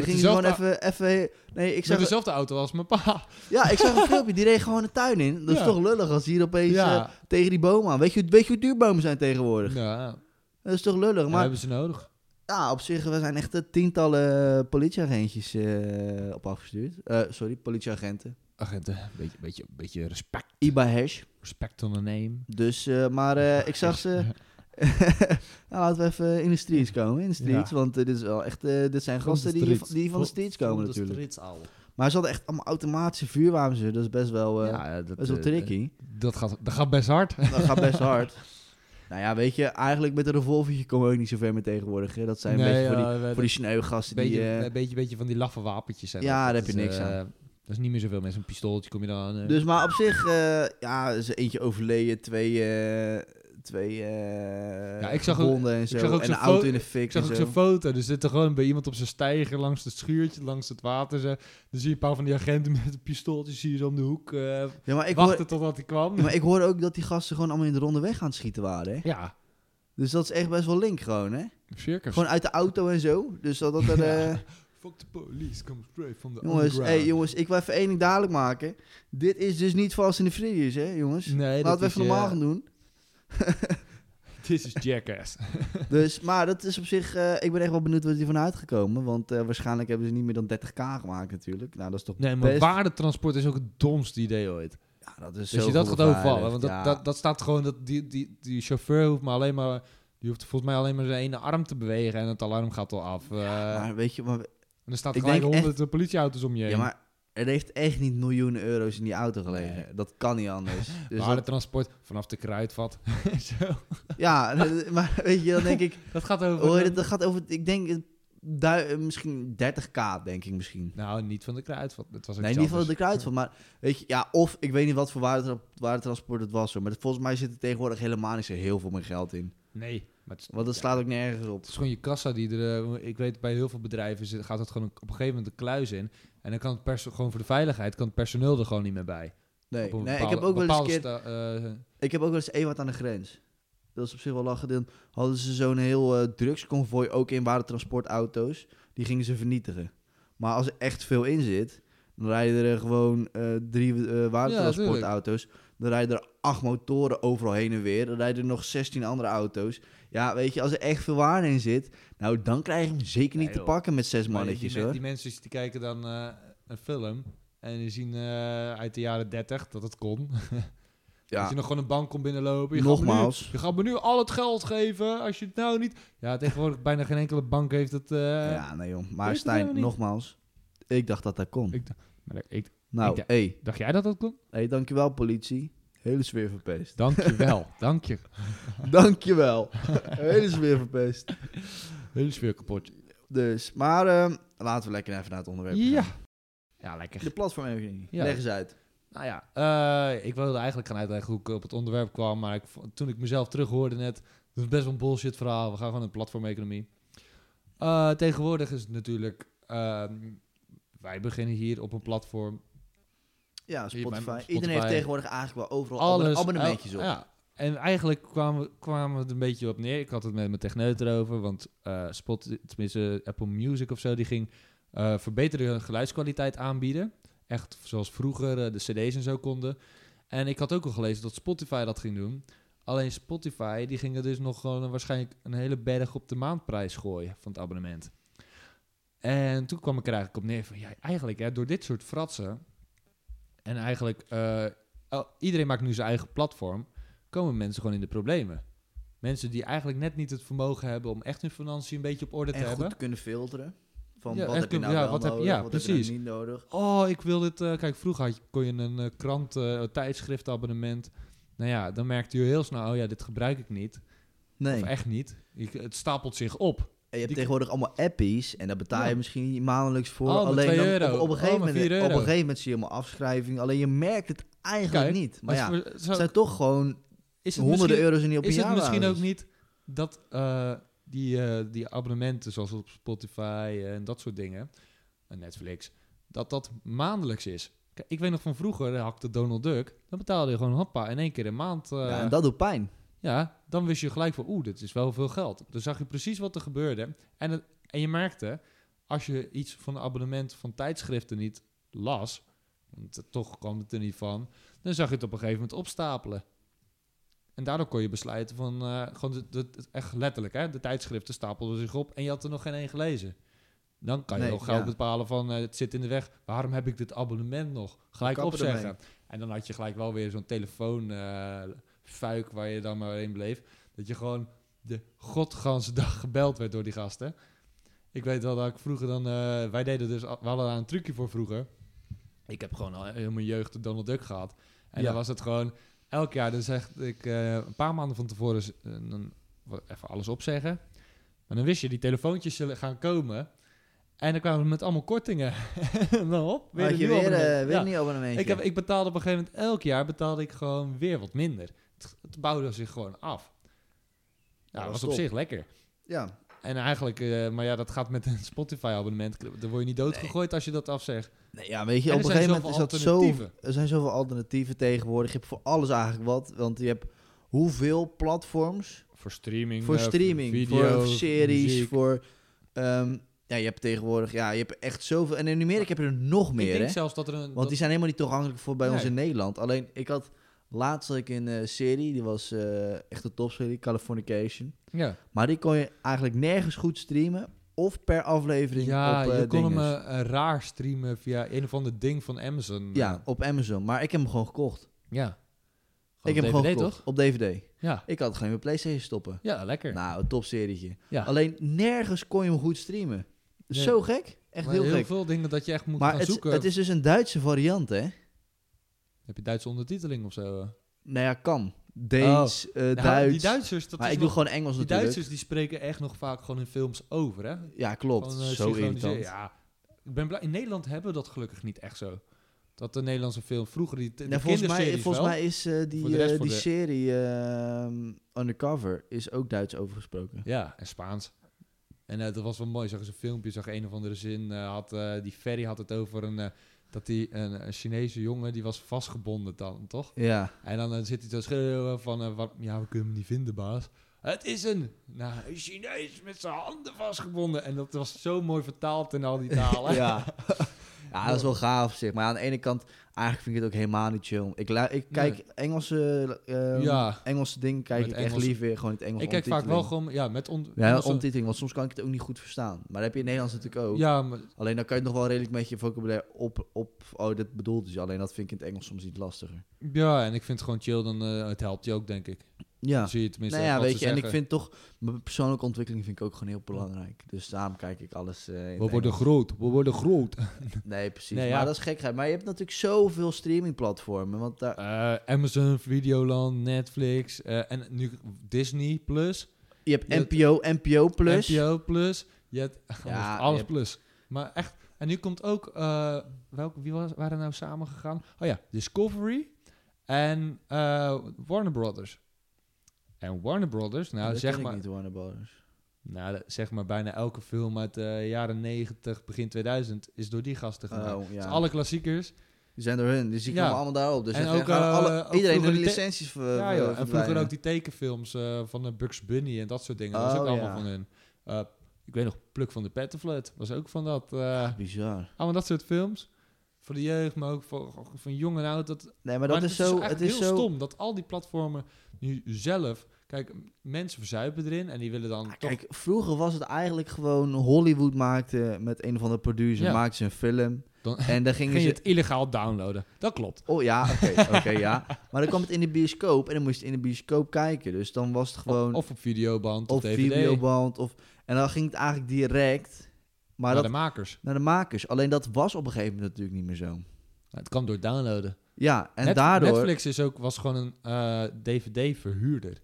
Speaker 1: Met
Speaker 2: ging hij gewoon
Speaker 1: dezelfde
Speaker 2: even. even nee, ik
Speaker 1: ik met
Speaker 2: zag,
Speaker 1: dezelfde auto als mijn pa.
Speaker 2: ja, ik zag een filmpje. Die reed gewoon de tuin in. Dat is
Speaker 1: Ja.
Speaker 2: toch lullig als hier opeens eh,
Speaker 1: Ja,
Speaker 2: tegen die boom aan. Weet je, weet je hoe duur bomen zijn tegenwoordig?
Speaker 1: ja.
Speaker 2: Dat is toch lullig.
Speaker 1: Maar
Speaker 2: Maar
Speaker 1: hebben ze nodig.
Speaker 2: ja, op zich, we zijn echt eh, tientallen eh, politieagentjes eh, op afgestuurd. Eh, sorry, politieagenten.
Speaker 1: Agenten, beetje, beetje, beetje respect.
Speaker 2: Iba Hash.
Speaker 1: Respect on the name.
Speaker 2: Dus, eh, maar eh, ik zag ze. nou, laten we even in de streets komen. In de streets, want eh, dit, is wel echt, eh, dit zijn
Speaker 1: Van de
Speaker 2: gasten die,
Speaker 1: streets.
Speaker 2: die van de streets komen natuurlijk.
Speaker 1: al.
Speaker 2: Maar ze hadden echt allemaal automatische vuurwapens. dus Dat is best wel, eh,
Speaker 1: ja, dat,
Speaker 2: best wel
Speaker 1: eh,
Speaker 2: tricky.
Speaker 1: dat, gaat, dat gaat best hard.
Speaker 2: Dat gaat best hard. Nou ja, weet je, eigenlijk met een revolvertje komen we ook niet zo ver meer tegenwoordig. Hè. Dat zijn een beetje voor die,
Speaker 1: eh,
Speaker 2: voor die sneugasten
Speaker 1: beetje,
Speaker 2: die... eh,
Speaker 1: een beetje, beetje van die laffe wapentjes. Zijn
Speaker 2: Ja,
Speaker 1: dat.
Speaker 2: daar
Speaker 1: Dat
Speaker 2: heb je
Speaker 1: is,
Speaker 2: niks
Speaker 1: eh,
Speaker 2: aan.
Speaker 1: Dat is niet meer zoveel met zo'n pistooltje kom je dan aan. eh.
Speaker 2: Dus maar op zich, eh, ja, er is er eentje overleden, twee, eh, twee eh
Speaker 1: Ja, ik zag ook-
Speaker 2: gebonden en zo.
Speaker 1: zag ook
Speaker 2: en
Speaker 1: zo'n
Speaker 2: een auto
Speaker 1: fo-
Speaker 2: in de fik
Speaker 1: ik zag
Speaker 2: en
Speaker 1: ook
Speaker 2: zo.
Speaker 1: zo'n foto. Er zit er gewoon bij iemand op zijn stijger langs het schuurtje, langs het water. Ze. Dan zie je een paar van die agenten met een pistooltje zie je ze om de hoek. eh
Speaker 2: Ja, maar ik hoor,
Speaker 1: wachten totdat hij kwam.
Speaker 2: Ja, maar ik hoor ook dat die gasten gewoon allemaal in de ronde weg aan het schieten waren. Hè?
Speaker 1: Ja,
Speaker 2: Dus dat is echt best wel link gewoon, hè?
Speaker 1: circus.
Speaker 2: Gewoon uit de auto en zo. Dus dat, dat er... eh,
Speaker 1: Fuck the police, come straight from the
Speaker 2: jongens, hey,
Speaker 1: underground.
Speaker 2: jongens, ik wil even één ding duidelijk maken. Dit is dus niet Fast in the Furious, hè, jongens?
Speaker 1: Nee, eh,
Speaker 2: Laten we even normaal gaan
Speaker 1: genoeg.
Speaker 2: doen.
Speaker 1: This is jackass.
Speaker 2: Dus, maar dat is op zich... eh, ik ben echt wel benieuwd wat hiervan uitgekomen. Want eh, waarschijnlijk hebben ze niet meer dan 30k gemaakt natuurlijk. Nou, dat is toch
Speaker 1: Nee, maar
Speaker 2: best...
Speaker 1: waardetransport is ook het domste idee ooit.
Speaker 2: Ja, dat is
Speaker 1: Dus
Speaker 2: zo
Speaker 1: je dat gaat
Speaker 2: beveiligd,
Speaker 1: overvallen. Want dat,
Speaker 2: ja.
Speaker 1: dat, dat staat gewoon... Dat die, die, die chauffeur hoeft maar alleen maar... Die hoeft volgens mij alleen maar zijn ene arm te bewegen... en het alarm gaat al af. Eh,
Speaker 2: Maar weet je, maar,
Speaker 1: en er staan
Speaker 2: ik
Speaker 1: gelijk
Speaker 2: denk
Speaker 1: honderden politieauto's om je heen.
Speaker 2: ja, maar er heeft echt niet miljoenen euro's in die auto gelegen.
Speaker 1: Nee.
Speaker 2: Dat kan niet anders. Dus dat-
Speaker 1: waardetransport vanaf de kruidvat. Zo.
Speaker 2: Ja, maar weet je, dan denk ik...
Speaker 1: Dat gaat over...
Speaker 2: Hoor je, dat- dat gaat over, ik denk, eh, du- eh, misschien 30k, denk ik misschien.
Speaker 1: Nou, niet van de kruidvat. Dat was ook
Speaker 2: Nee, in
Speaker 1: iets
Speaker 2: ieder geval de
Speaker 1: anders.
Speaker 2: kruid van. Maar weet je, ja, of ik weet niet wat voor waarde- waardetransport het was. Hoor, maar volgens mij zit er tegenwoordig helemaal niet zo heel veel meer geld in.
Speaker 1: Nee, maar het is
Speaker 2: Want dat slaat ook nergens op.
Speaker 1: Het is gewoon je kassa die er... eh, Ik weet, bij heel veel bedrijven zit- gaat dat gewoon op een gegeven moment de kluis in. En dan kan het perso- gewoon voor de veiligheid... kan het personeel er gewoon niet meer bij.
Speaker 2: Nee,
Speaker 1: Op een
Speaker 2: nee ik,
Speaker 1: bepaalde-
Speaker 2: heb ook wel eens een
Speaker 1: bepaalde sta-
Speaker 2: keer,
Speaker 1: eh,
Speaker 2: ik heb ook wel eens één wat aan de grens. Dat is op zich wel lachen. Dan hadden ze zo'n heel eh, drugsconvooi ook in waardetransportauto's. Die gingen ze vernietigen. Maar als er echt veel in zit, dan rijden er gewoon eh, drie eh, waardetransportauto's. Dan rijden er acht motoren overal heen en weer. Dan rijden er nog 16 andere auto's. Ja, weet je, als er echt veel waarde in zit, nou dan krijg je hem zeker niet
Speaker 1: Nee,
Speaker 2: te
Speaker 1: joh.
Speaker 2: pakken met zes
Speaker 1: maar die-
Speaker 2: mannetjes
Speaker 1: die, men-
Speaker 2: hoor.
Speaker 1: die mensen die kijken dan eh, een film. En die zien eh, uit de jaren 30 dat het kon. Dat
Speaker 2: Ja,
Speaker 1: je nog gewoon een bank kon binnenlopen. Je Gaat me
Speaker 2: nogmaals.
Speaker 1: nu, je gaat me nu al het geld geven als je het nou niet... Ja, tegenwoordig bijna geen enkele bank heeft het... eh,
Speaker 2: Ja, nee joh. Maar
Speaker 1: het
Speaker 2: Stijn,
Speaker 1: helemaal niet.
Speaker 2: nogmaals. Ik dacht dat dat kon.
Speaker 1: Ik- Maar ik, Ik
Speaker 2: Nou,
Speaker 1: denk-
Speaker 2: hé, hey.
Speaker 1: Dacht jij dat dat klonk?
Speaker 2: hey, dankjewel politie. Hele sfeer verpest.
Speaker 1: Dankjewel, dank je.
Speaker 2: dankjewel. Hele sfeer verpest.
Speaker 1: Hele sfeer kapot.
Speaker 2: Dus, maar ehm, laten we lekker even naar het onderwerp
Speaker 1: Ja.
Speaker 2: gaan.
Speaker 1: Ja, lekker.
Speaker 2: De platformervaring.
Speaker 1: Ja.
Speaker 2: Leg eens uit.
Speaker 1: Nou ja, eh, ik wilde eigenlijk gaan uitleggen hoe ik op het onderwerp kwam, maar ik, vo- toen ik mezelf terughoorde net, dat is best wel een bullshit verhaal. We gaan gewoon een platformeconomie. Eh tegenwoordig is het natuurlijk, ehm, wij beginnen hier op een platform.
Speaker 2: Ja,
Speaker 1: Hier, mijn
Speaker 2: Spotify.
Speaker 1: Spotify.
Speaker 2: Iedereen heeft tegenwoordig eigenlijk wel overal
Speaker 1: Alles,
Speaker 2: abonne- abonnementjes
Speaker 1: el-
Speaker 2: op.
Speaker 1: Ja, en eigenlijk kwamen we, kwamen we het een beetje op neer. Ik had het met mijn techneut erover, want eh, Spot, tenminste Apple Music of zo, die ging eh verbeterde geluidskwaliteit aanbieden. Echt zoals vroeger eh, de cd's en zo konden. En ik had ook al gelezen dat Spotify dat ging doen. Alleen Spotify, die gingen dus nog gewoon een- waarschijnlijk een hele berg op de maandprijs gooien van het abonnement. En toen kwam ik er eigenlijk op neer van, ja, eigenlijk hè, door dit soort fratsen... En eigenlijk, eh, el- iedereen maakt nu zijn eigen platform, komen mensen gewoon in de problemen. Mensen die eigenlijk net niet het vermogen hebben om echt hun financiën een beetje op orde te
Speaker 2: En
Speaker 1: hebben.
Speaker 2: goed te kunnen filteren. Van
Speaker 1: Ja,
Speaker 2: wat
Speaker 1: echt
Speaker 2: heb je nou
Speaker 1: kunnen- ja,
Speaker 2: wel
Speaker 1: wat heb-
Speaker 2: nodig,
Speaker 1: ja,
Speaker 2: wat heb
Speaker 1: precies.
Speaker 2: je nou niet nodig.
Speaker 1: Oh, ik wil dit. eh, kijk, vroeger had je, kon je een eh, krant, eh tijdschriftabonnement. Nou ja, dan merkte je heel snel, oh ja, dit gebruik ik niet.
Speaker 2: Nee.
Speaker 1: Of echt niet. Ik, het stapelt zich op.
Speaker 2: En je hebt
Speaker 1: Die-
Speaker 2: tegenwoordig allemaal appies en daar betaal je
Speaker 1: Ja.
Speaker 2: misschien maandelijks voor.
Speaker 1: Oh, maar
Speaker 2: alleen
Speaker 1: 2
Speaker 2: dan
Speaker 1: euro.
Speaker 2: Op, op, een
Speaker 1: Oh,
Speaker 2: gegeven
Speaker 1: maar
Speaker 2: moment,
Speaker 1: 4
Speaker 2: op een
Speaker 1: euro.
Speaker 2: gegeven moment zie je allemaal afschrijving. Alleen je merkt het eigenlijk
Speaker 1: Kijk,
Speaker 2: niet. Maar
Speaker 1: Als
Speaker 2: ja, het
Speaker 1: we- zou-
Speaker 2: zijn toch gewoon
Speaker 1: is het
Speaker 2: honderden
Speaker 1: misschien-
Speaker 2: euro's in die op een
Speaker 1: Is het
Speaker 2: jaar
Speaker 1: misschien ook
Speaker 2: basis.
Speaker 1: niet dat eh, die, eh, die abonnementen zoals op Spotify en dat soort dingen, en Netflix, dat dat maandelijks is? Kijk, Ik weet nog van vroeger, eh, hakte Donald Duck, dan betaalde je gewoon hoppa in één keer een maand. eh,
Speaker 2: Ja, en dat doet pijn.
Speaker 1: Ja, dan wist je gelijk van, oeh, dit is wel veel geld. Dan zag je precies wat er gebeurde. En, het- en je merkte, als je iets van een abonnement van tijdschriften niet las, want het- toch kwam het er niet van, dan zag je het op een gegeven moment opstapelen. En daardoor kon je besluiten van, eh, gewoon de, de- de- echt letterlijk, hè, de tijdschriften stapelden zich op en je had er nog geen één gelezen. Dan kan je
Speaker 2: Nee,
Speaker 1: wel geld
Speaker 2: ja.
Speaker 1: bepalen van, eh, het zit in de weg, waarom heb ik dit abonnement nog? Gelijk
Speaker 2: Kappen ermee.
Speaker 1: opzeggen. En dan had je gelijk wel weer zo'n telefoon eh, fuik waar je dan maar in bleef. Dat je gewoon de godganse dag gebeld werd door die gasten. Ik weet wel dat ik vroeger dan... eh, wij deden dus... al- We hadden daar een trucje voor vroeger. Ik heb gewoon al heel eh, mijn jeugd de Donald Duck gehad. En
Speaker 2: Ja.
Speaker 1: dan was het gewoon... Elk jaar, dan zeg ik eh, een paar maanden van tevoren... z- eh, dan wa- even alles opzeggen. Maar dan wist je, die telefoontjes zullen gaan komen... En dan kwamen we met allemaal kortingen. en dan hop, weer
Speaker 2: Weer
Speaker 1: een
Speaker 2: je
Speaker 1: nieuw
Speaker 2: weer, eh,
Speaker 1: abonnement.
Speaker 2: weer
Speaker 1: Ja.
Speaker 2: een nieuw abonnementje.
Speaker 1: Ik, heb, ik betaalde op een gegeven moment, elk jaar betaalde ik gewoon weer wat minder. Het, het bouwde zich gewoon af. Ja, dat
Speaker 2: Dat was
Speaker 1: was op
Speaker 2: top.
Speaker 1: zich lekker.
Speaker 2: ja.
Speaker 1: En eigenlijk, eh, maar ja, dat gaat met een Spotify-abonnement. Dan word je niet doodgegooid als je dat afzegt.
Speaker 2: Nee, ja, weet je,
Speaker 1: En
Speaker 2: op
Speaker 1: er
Speaker 2: een
Speaker 1: zijn
Speaker 2: gegeven moment
Speaker 1: zoveel
Speaker 2: is dat zo...
Speaker 1: alternatieven.
Speaker 2: Er zijn zoveel alternatieven tegenwoordig. Je hebt voor alles eigenlijk wat. Want je hebt hoeveel platforms...
Speaker 1: Voor streaming.
Speaker 2: Voor
Speaker 1: eh,
Speaker 2: streaming,
Speaker 1: video,
Speaker 2: voor series,
Speaker 1: muziek.
Speaker 2: voor... ehm, ja, je hebt tegenwoordig... Ja, je hebt echt zoveel... En in Amerika heb je er nog
Speaker 1: Ik
Speaker 2: meer,
Speaker 1: denk
Speaker 2: hè?
Speaker 1: zelfs dat er een...
Speaker 2: Want die zijn helemaal niet toegankelijk voor bij ons
Speaker 1: Nee.
Speaker 2: in Nederland. Alleen, ik had... Laatst had ik een eh, serie, die was eh, echt een topserie, Californication.
Speaker 1: dat- ja,
Speaker 2: Maar die kon je eigenlijk nergens goed streamen of per aflevering
Speaker 1: ja
Speaker 2: op eh,
Speaker 1: je kon hem
Speaker 2: dinges.
Speaker 1: eh, eh, raar streamen via een of ander ding van Amazon.
Speaker 2: ja,
Speaker 1: Eh,
Speaker 2: op Amazon. Maar ik heb hem gewoon gekocht.
Speaker 1: ja.
Speaker 2: ik heb hem
Speaker 1: DVD,
Speaker 2: gewoon gekocht op DVD.
Speaker 1: Ja.
Speaker 2: Ik had gewoon in mijn Playstation stoppen.
Speaker 1: ja, lekker.
Speaker 2: Nou, een topserietje.
Speaker 1: Ja.
Speaker 2: Alleen nergens kon je hem goed streamen. Dus
Speaker 1: Nee.
Speaker 2: Zo gek. Echt
Speaker 1: Maar
Speaker 2: heel, gek.
Speaker 1: veel dingen dat je echt moet
Speaker 2: maar
Speaker 1: gaan
Speaker 2: het,
Speaker 1: zoeken.
Speaker 2: het is dus een Duitse variant, hè?
Speaker 1: Heb je Duitse ondertiteling of zo? eh?
Speaker 2: Nou ja, kan. Deens, eh,
Speaker 1: Oh. Ja,
Speaker 2: Duits.
Speaker 1: Die Duitsers, dat
Speaker 2: maar
Speaker 1: is
Speaker 2: ik doe
Speaker 1: nog-
Speaker 2: gewoon Engels
Speaker 1: die
Speaker 2: natuurlijk.
Speaker 1: Duitsers die spreken echt nog vaak gewoon in films over, hè?
Speaker 2: Ja, klopt.
Speaker 1: Gewoon, eh,
Speaker 2: Zo
Speaker 1: synchroniseren.
Speaker 2: irritant.
Speaker 1: Ja, ik ben blij. In Nederland hebben we dat gelukkig niet echt zo. Dat de Nederlandse film vroeger die, de
Speaker 2: Nou, volgens mij,
Speaker 1: kinderseries
Speaker 2: volgens
Speaker 1: wel.
Speaker 2: mij is eh, die,
Speaker 1: Voor de rest
Speaker 2: eh,
Speaker 1: van
Speaker 2: die
Speaker 1: de-
Speaker 2: serie ehm, Undercover is ook Duits overgesproken.
Speaker 1: Ja, en Spaans. En eh, dat was wel mooi. Zag eens een filmpje, zag een of andere zin. eh, had, eh, die Ferry had het over een, eh, dat die, een, een Chinese jongen die was vastgebonden dan, toch?
Speaker 2: Ja.
Speaker 1: En dan eh, zit hij te schreeuwen van, eh, wat, ja, we kunnen hem niet vinden, baas. Het is een, nou, een Chinees met zijn handen vastgebonden. En dat was zo mooi vertaald in al die talen.
Speaker 2: Ja. ja, dat is wel gaaf op zich. Maar aan de ene kant, eigenlijk vind ik het ook helemaal niet chill. Ik, lu- ik kijk Engelse, ehm,
Speaker 1: Ja.
Speaker 2: Engelse dingen kijk
Speaker 1: Met
Speaker 2: ik echt
Speaker 1: Engels-
Speaker 2: liever weer gewoon in het Engels
Speaker 1: ik kijk vaak wel gewoon, ja, met on,
Speaker 2: Ja,
Speaker 1: Engelse-
Speaker 2: ondertiteling, want soms kan ik het ook niet goed verstaan. Maar dat heb je in het Nederlands natuurlijk ook.
Speaker 1: Ja, maar
Speaker 2: Alleen dan kan je het nog wel redelijk met je vocabulaire op, op... Oh, dit bedoelt dus. Alleen dat vind ik in het Engels soms iets lastiger.
Speaker 1: Ja, en ik vind het gewoon chill. Dan, eh, het helpt je ook, denk ik.
Speaker 2: Ja.
Speaker 1: Dat zie je tenminste.
Speaker 2: Nou ja,
Speaker 1: wat
Speaker 2: weet
Speaker 1: ze
Speaker 2: je, en ik
Speaker 1: zeggen.
Speaker 2: vind toch, mijn persoonlijke ontwikkeling vind ik ook gewoon heel belangrijk. Dus daarom kijk ik alles. eh, in het
Speaker 1: We worden
Speaker 2: Engels.
Speaker 1: groot, we worden groot.
Speaker 2: Nee, precies.
Speaker 1: Nee, ja.
Speaker 2: Maar dat is gekheid. Maar je hebt natuurlijk zoveel streamingplatformen. Want daar,
Speaker 1: Eh, Amazon, Videoland, Netflix eh, en nu Disney Plus,
Speaker 2: je hebt
Speaker 1: je hebt-
Speaker 2: NPO, NPO Plus.
Speaker 1: NPO Plus. Je hebt
Speaker 2: Ja,
Speaker 1: alles
Speaker 2: je hebt-
Speaker 1: plus. Maar echt, en nu komt ook, eh welk, wie was, waren nou samen gegaan? Oh ja, Discovery en eh, Warner Brothers. En Warner Brothers, nou
Speaker 2: dat
Speaker 1: zeg
Speaker 2: ken
Speaker 1: maar,
Speaker 2: ik niet, Warner Brothers.
Speaker 1: nou, dat- zeg maar bijna elke film uit de jaren 90, begin 2000 is door die gasten gemaakt.
Speaker 2: Oh,
Speaker 1: Dus
Speaker 2: ja.
Speaker 1: alle klassiekers.
Speaker 2: Die zijn door hun, dus die
Speaker 1: Ja.
Speaker 2: komen allemaal daarop. Dus
Speaker 1: En
Speaker 2: en
Speaker 1: ook, eh,
Speaker 2: alle,
Speaker 1: ook
Speaker 2: iedereen
Speaker 1: vroeger
Speaker 2: de
Speaker 1: die te-
Speaker 2: licenties ver,
Speaker 1: ja, joh. En vroeger
Speaker 2: verdwijnen.
Speaker 1: ook die tekenfilms eh, van de Bugs Bunny en dat soort dingen. Dat was ook
Speaker 2: Oh,
Speaker 1: allemaal
Speaker 2: ja.
Speaker 1: van hun. Eh, ik weet nog, Pluk van de Pettenflat was ook van dat. eh,
Speaker 2: Bizar.
Speaker 1: Allemaal dat soort films. Voor de jeugd, maar ook voor, van jong en oud. Dat,
Speaker 2: Nee, maar dat
Speaker 1: maar
Speaker 2: is zo...
Speaker 1: eigenlijk
Speaker 2: Het is
Speaker 1: heel
Speaker 2: zo
Speaker 1: stom dat al die platformen nu zelf... Kijk, m- mensen verzuipen erin en die willen dan
Speaker 2: Ah,
Speaker 1: toch...
Speaker 2: Kijk, vroeger was het eigenlijk gewoon Hollywood maakte met een of andere producer,
Speaker 1: Ja.
Speaker 2: maakte ze een film.
Speaker 1: Dan-
Speaker 2: en dan gingen
Speaker 1: Ging je
Speaker 2: ze...
Speaker 1: het illegaal downloaden? Dat klopt.
Speaker 2: Oh ja, oké, oké, ja. Maar dan kwam het in de bioscoop en dan moest je het in de bioscoop kijken. Dus dan was het gewoon of,
Speaker 1: Of op videoband, of, DVD.
Speaker 2: videoband of... En dan ging het eigenlijk direct maar
Speaker 1: naar
Speaker 2: dat,
Speaker 1: de makers.
Speaker 2: naar de makers. Alleen dat was op een gegeven moment natuurlijk niet meer zo.
Speaker 1: Het kwam door downloaden.
Speaker 2: Ja, en
Speaker 1: Net-
Speaker 2: daardoor...
Speaker 1: Netflix is ook, was gewoon een eh, DVD-verhuurder.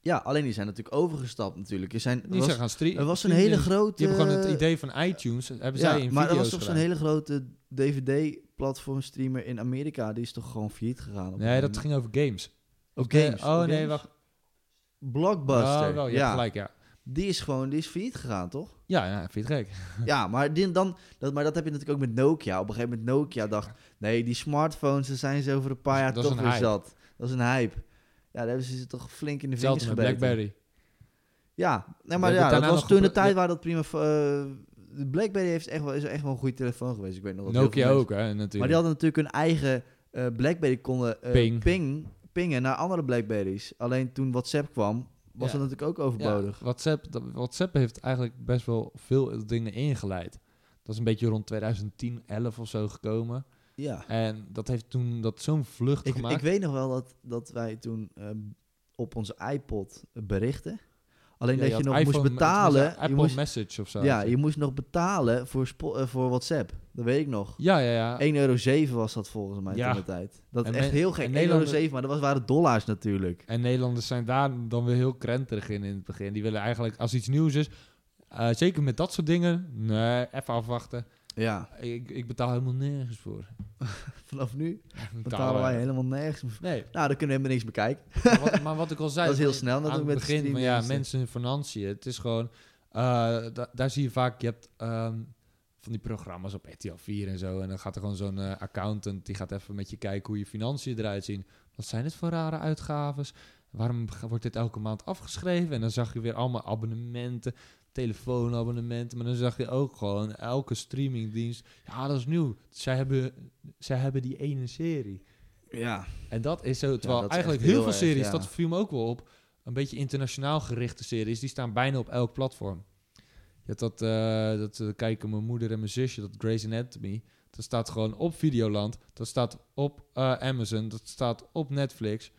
Speaker 2: Ja, alleen die zijn natuurlijk overgestapt natuurlijk. Er, zijn, er
Speaker 1: Die
Speaker 2: was,
Speaker 1: zijn gaan streamen.
Speaker 2: er was een hele grote...
Speaker 1: Die hebben gewoon het idee van iTunes. Hebben zij in
Speaker 2: maar er was
Speaker 1: video's
Speaker 2: toch zo'n
Speaker 1: gedaan.
Speaker 2: hele grote DVD-platform streamer in Amerika. Die is toch gewoon failliet gegaan? op
Speaker 1: Nee,
Speaker 2: een
Speaker 1: dat
Speaker 2: gegeven
Speaker 1: ging over games.
Speaker 2: moment.
Speaker 1: Eh,
Speaker 2: Oh, games.
Speaker 1: oh nee,
Speaker 2: games?
Speaker 1: wacht.
Speaker 2: Blockbuster.
Speaker 1: Oh, wel, je hebt
Speaker 2: ja,
Speaker 1: gelijk, ja.
Speaker 2: die is gewoon die is failliet gegaan, toch?
Speaker 1: Ja, ja, vind je het gek?
Speaker 2: ja, maar, die, dan, dat, maar dat heb je natuurlijk ook met Nokia. Op een gegeven moment Nokia dacht... Nee, die smartphones, daar zijn ze over een paar
Speaker 1: Dat is-
Speaker 2: jaar
Speaker 1: dat is
Speaker 2: toch
Speaker 1: een
Speaker 2: weer
Speaker 1: hype.
Speaker 2: zat. Dat is een hype. Ja, daar hebben ze ze toch flink in de vingers
Speaker 1: Hetzelfde met
Speaker 2: gebeten.
Speaker 1: Blackberry.
Speaker 2: Ja, nee,
Speaker 1: We hebben
Speaker 2: maar ja, dat
Speaker 1: daarna
Speaker 2: was
Speaker 1: nog
Speaker 2: toen de
Speaker 1: gepro-
Speaker 2: tijd waar dat prima... eh, de Blackberry heeft echt wel, is echt wel een goede telefoon geweest. Ik weet nog dat heel veel
Speaker 1: Nokia
Speaker 2: mensen-
Speaker 1: ook, hè, natuurlijk.
Speaker 2: Maar die hadden natuurlijk hun eigen eh, Blackberry konden eh,
Speaker 1: Ping.
Speaker 2: ping- pingen naar andere Blackberries. Alleen toen WhatsApp kwam, was
Speaker 1: Ja.
Speaker 2: dat natuurlijk ook
Speaker 1: Ja,
Speaker 2: overbodig.
Speaker 1: WhatsApp, dat- WhatsApp heeft eigenlijk best wel veel dingen ingeleid. Dat is een beetje rond 2010, 11 of zo gekomen.
Speaker 2: Ja.
Speaker 1: En dat heeft toen dat zo'n vlucht
Speaker 2: Ik,
Speaker 1: gemaakt.
Speaker 2: ik weet nog wel dat, dat wij toen eh, op onze iPod berichten. Alleen dat je, nog moest betalen.
Speaker 1: Apple
Speaker 2: je moest,
Speaker 1: Message of zo.
Speaker 2: ja, je moest nog betalen voor, spo- eh, voor WhatsApp. Dat weet ik nog.
Speaker 1: ja, ja. ja.
Speaker 2: 1,07 euro was dat volgens mij
Speaker 1: Ja.
Speaker 2: toen de tijd. Dat is
Speaker 1: En
Speaker 2: echt
Speaker 1: men-
Speaker 2: heel
Speaker 1: en
Speaker 2: gek. 1,07
Speaker 1: Nederlanders-
Speaker 2: euro, maar dat was, waren dollars natuurlijk.
Speaker 1: En Nederlanders zijn daar dan weer heel krenterig in in het begin. Die willen eigenlijk, als iets nieuws is, eh, zeker met dat soort dingen, nee, even afwachten.
Speaker 2: Ja,
Speaker 1: Ik, ik betaal helemaal nergens voor.
Speaker 2: vanaf nu
Speaker 1: Betalen
Speaker 2: betalen wij helemaal nergens. meer voor.
Speaker 1: Nee,
Speaker 2: Nou, dan kunnen we helemaal niks meer kijken.
Speaker 1: maar wat, maar wat ik al zei...
Speaker 2: Dat is heel
Speaker 1: van-
Speaker 2: snel
Speaker 1: aan
Speaker 2: natuurlijk
Speaker 1: het
Speaker 2: met de
Speaker 1: begin van ja,
Speaker 2: streamingdiensten.
Speaker 1: mensen in financiën. Het is gewoon, eh, da- daar zie je vaak, je hebt ehm, van die programma's op RTL 4 en zo. En dan gaat er gewoon zo'n eh, accountant, die gaat even met je kijken hoe je financiën eruit zien. Wat zijn dit voor rare uitgaves? Waarom g- wordt dit elke maand afgeschreven? En dan zag je weer allemaal abonnementen, telefoonabonnementen. Maar dan zag je ook gewoon elke streamingdienst. Ja, dat is nieuw. Zij hebben, zij hebben die ene serie.
Speaker 2: Ja,
Speaker 1: En dat is zo. Terwijl
Speaker 2: dat is
Speaker 1: eigenlijk
Speaker 2: echt
Speaker 1: heel
Speaker 2: heel
Speaker 1: veel
Speaker 2: erg,
Speaker 1: series,
Speaker 2: ja.
Speaker 1: dat viel me ook wel op. Een beetje internationaal gerichte series, die staan bijna op elk platform. Je hebt dat, eh, dat eh, kijken mijn moeder en mijn zusje, dat Grey's Anatomy. Dat staat gewoon op Videoland. Dat staat op eh, Amazon. Dat staat op Netflix.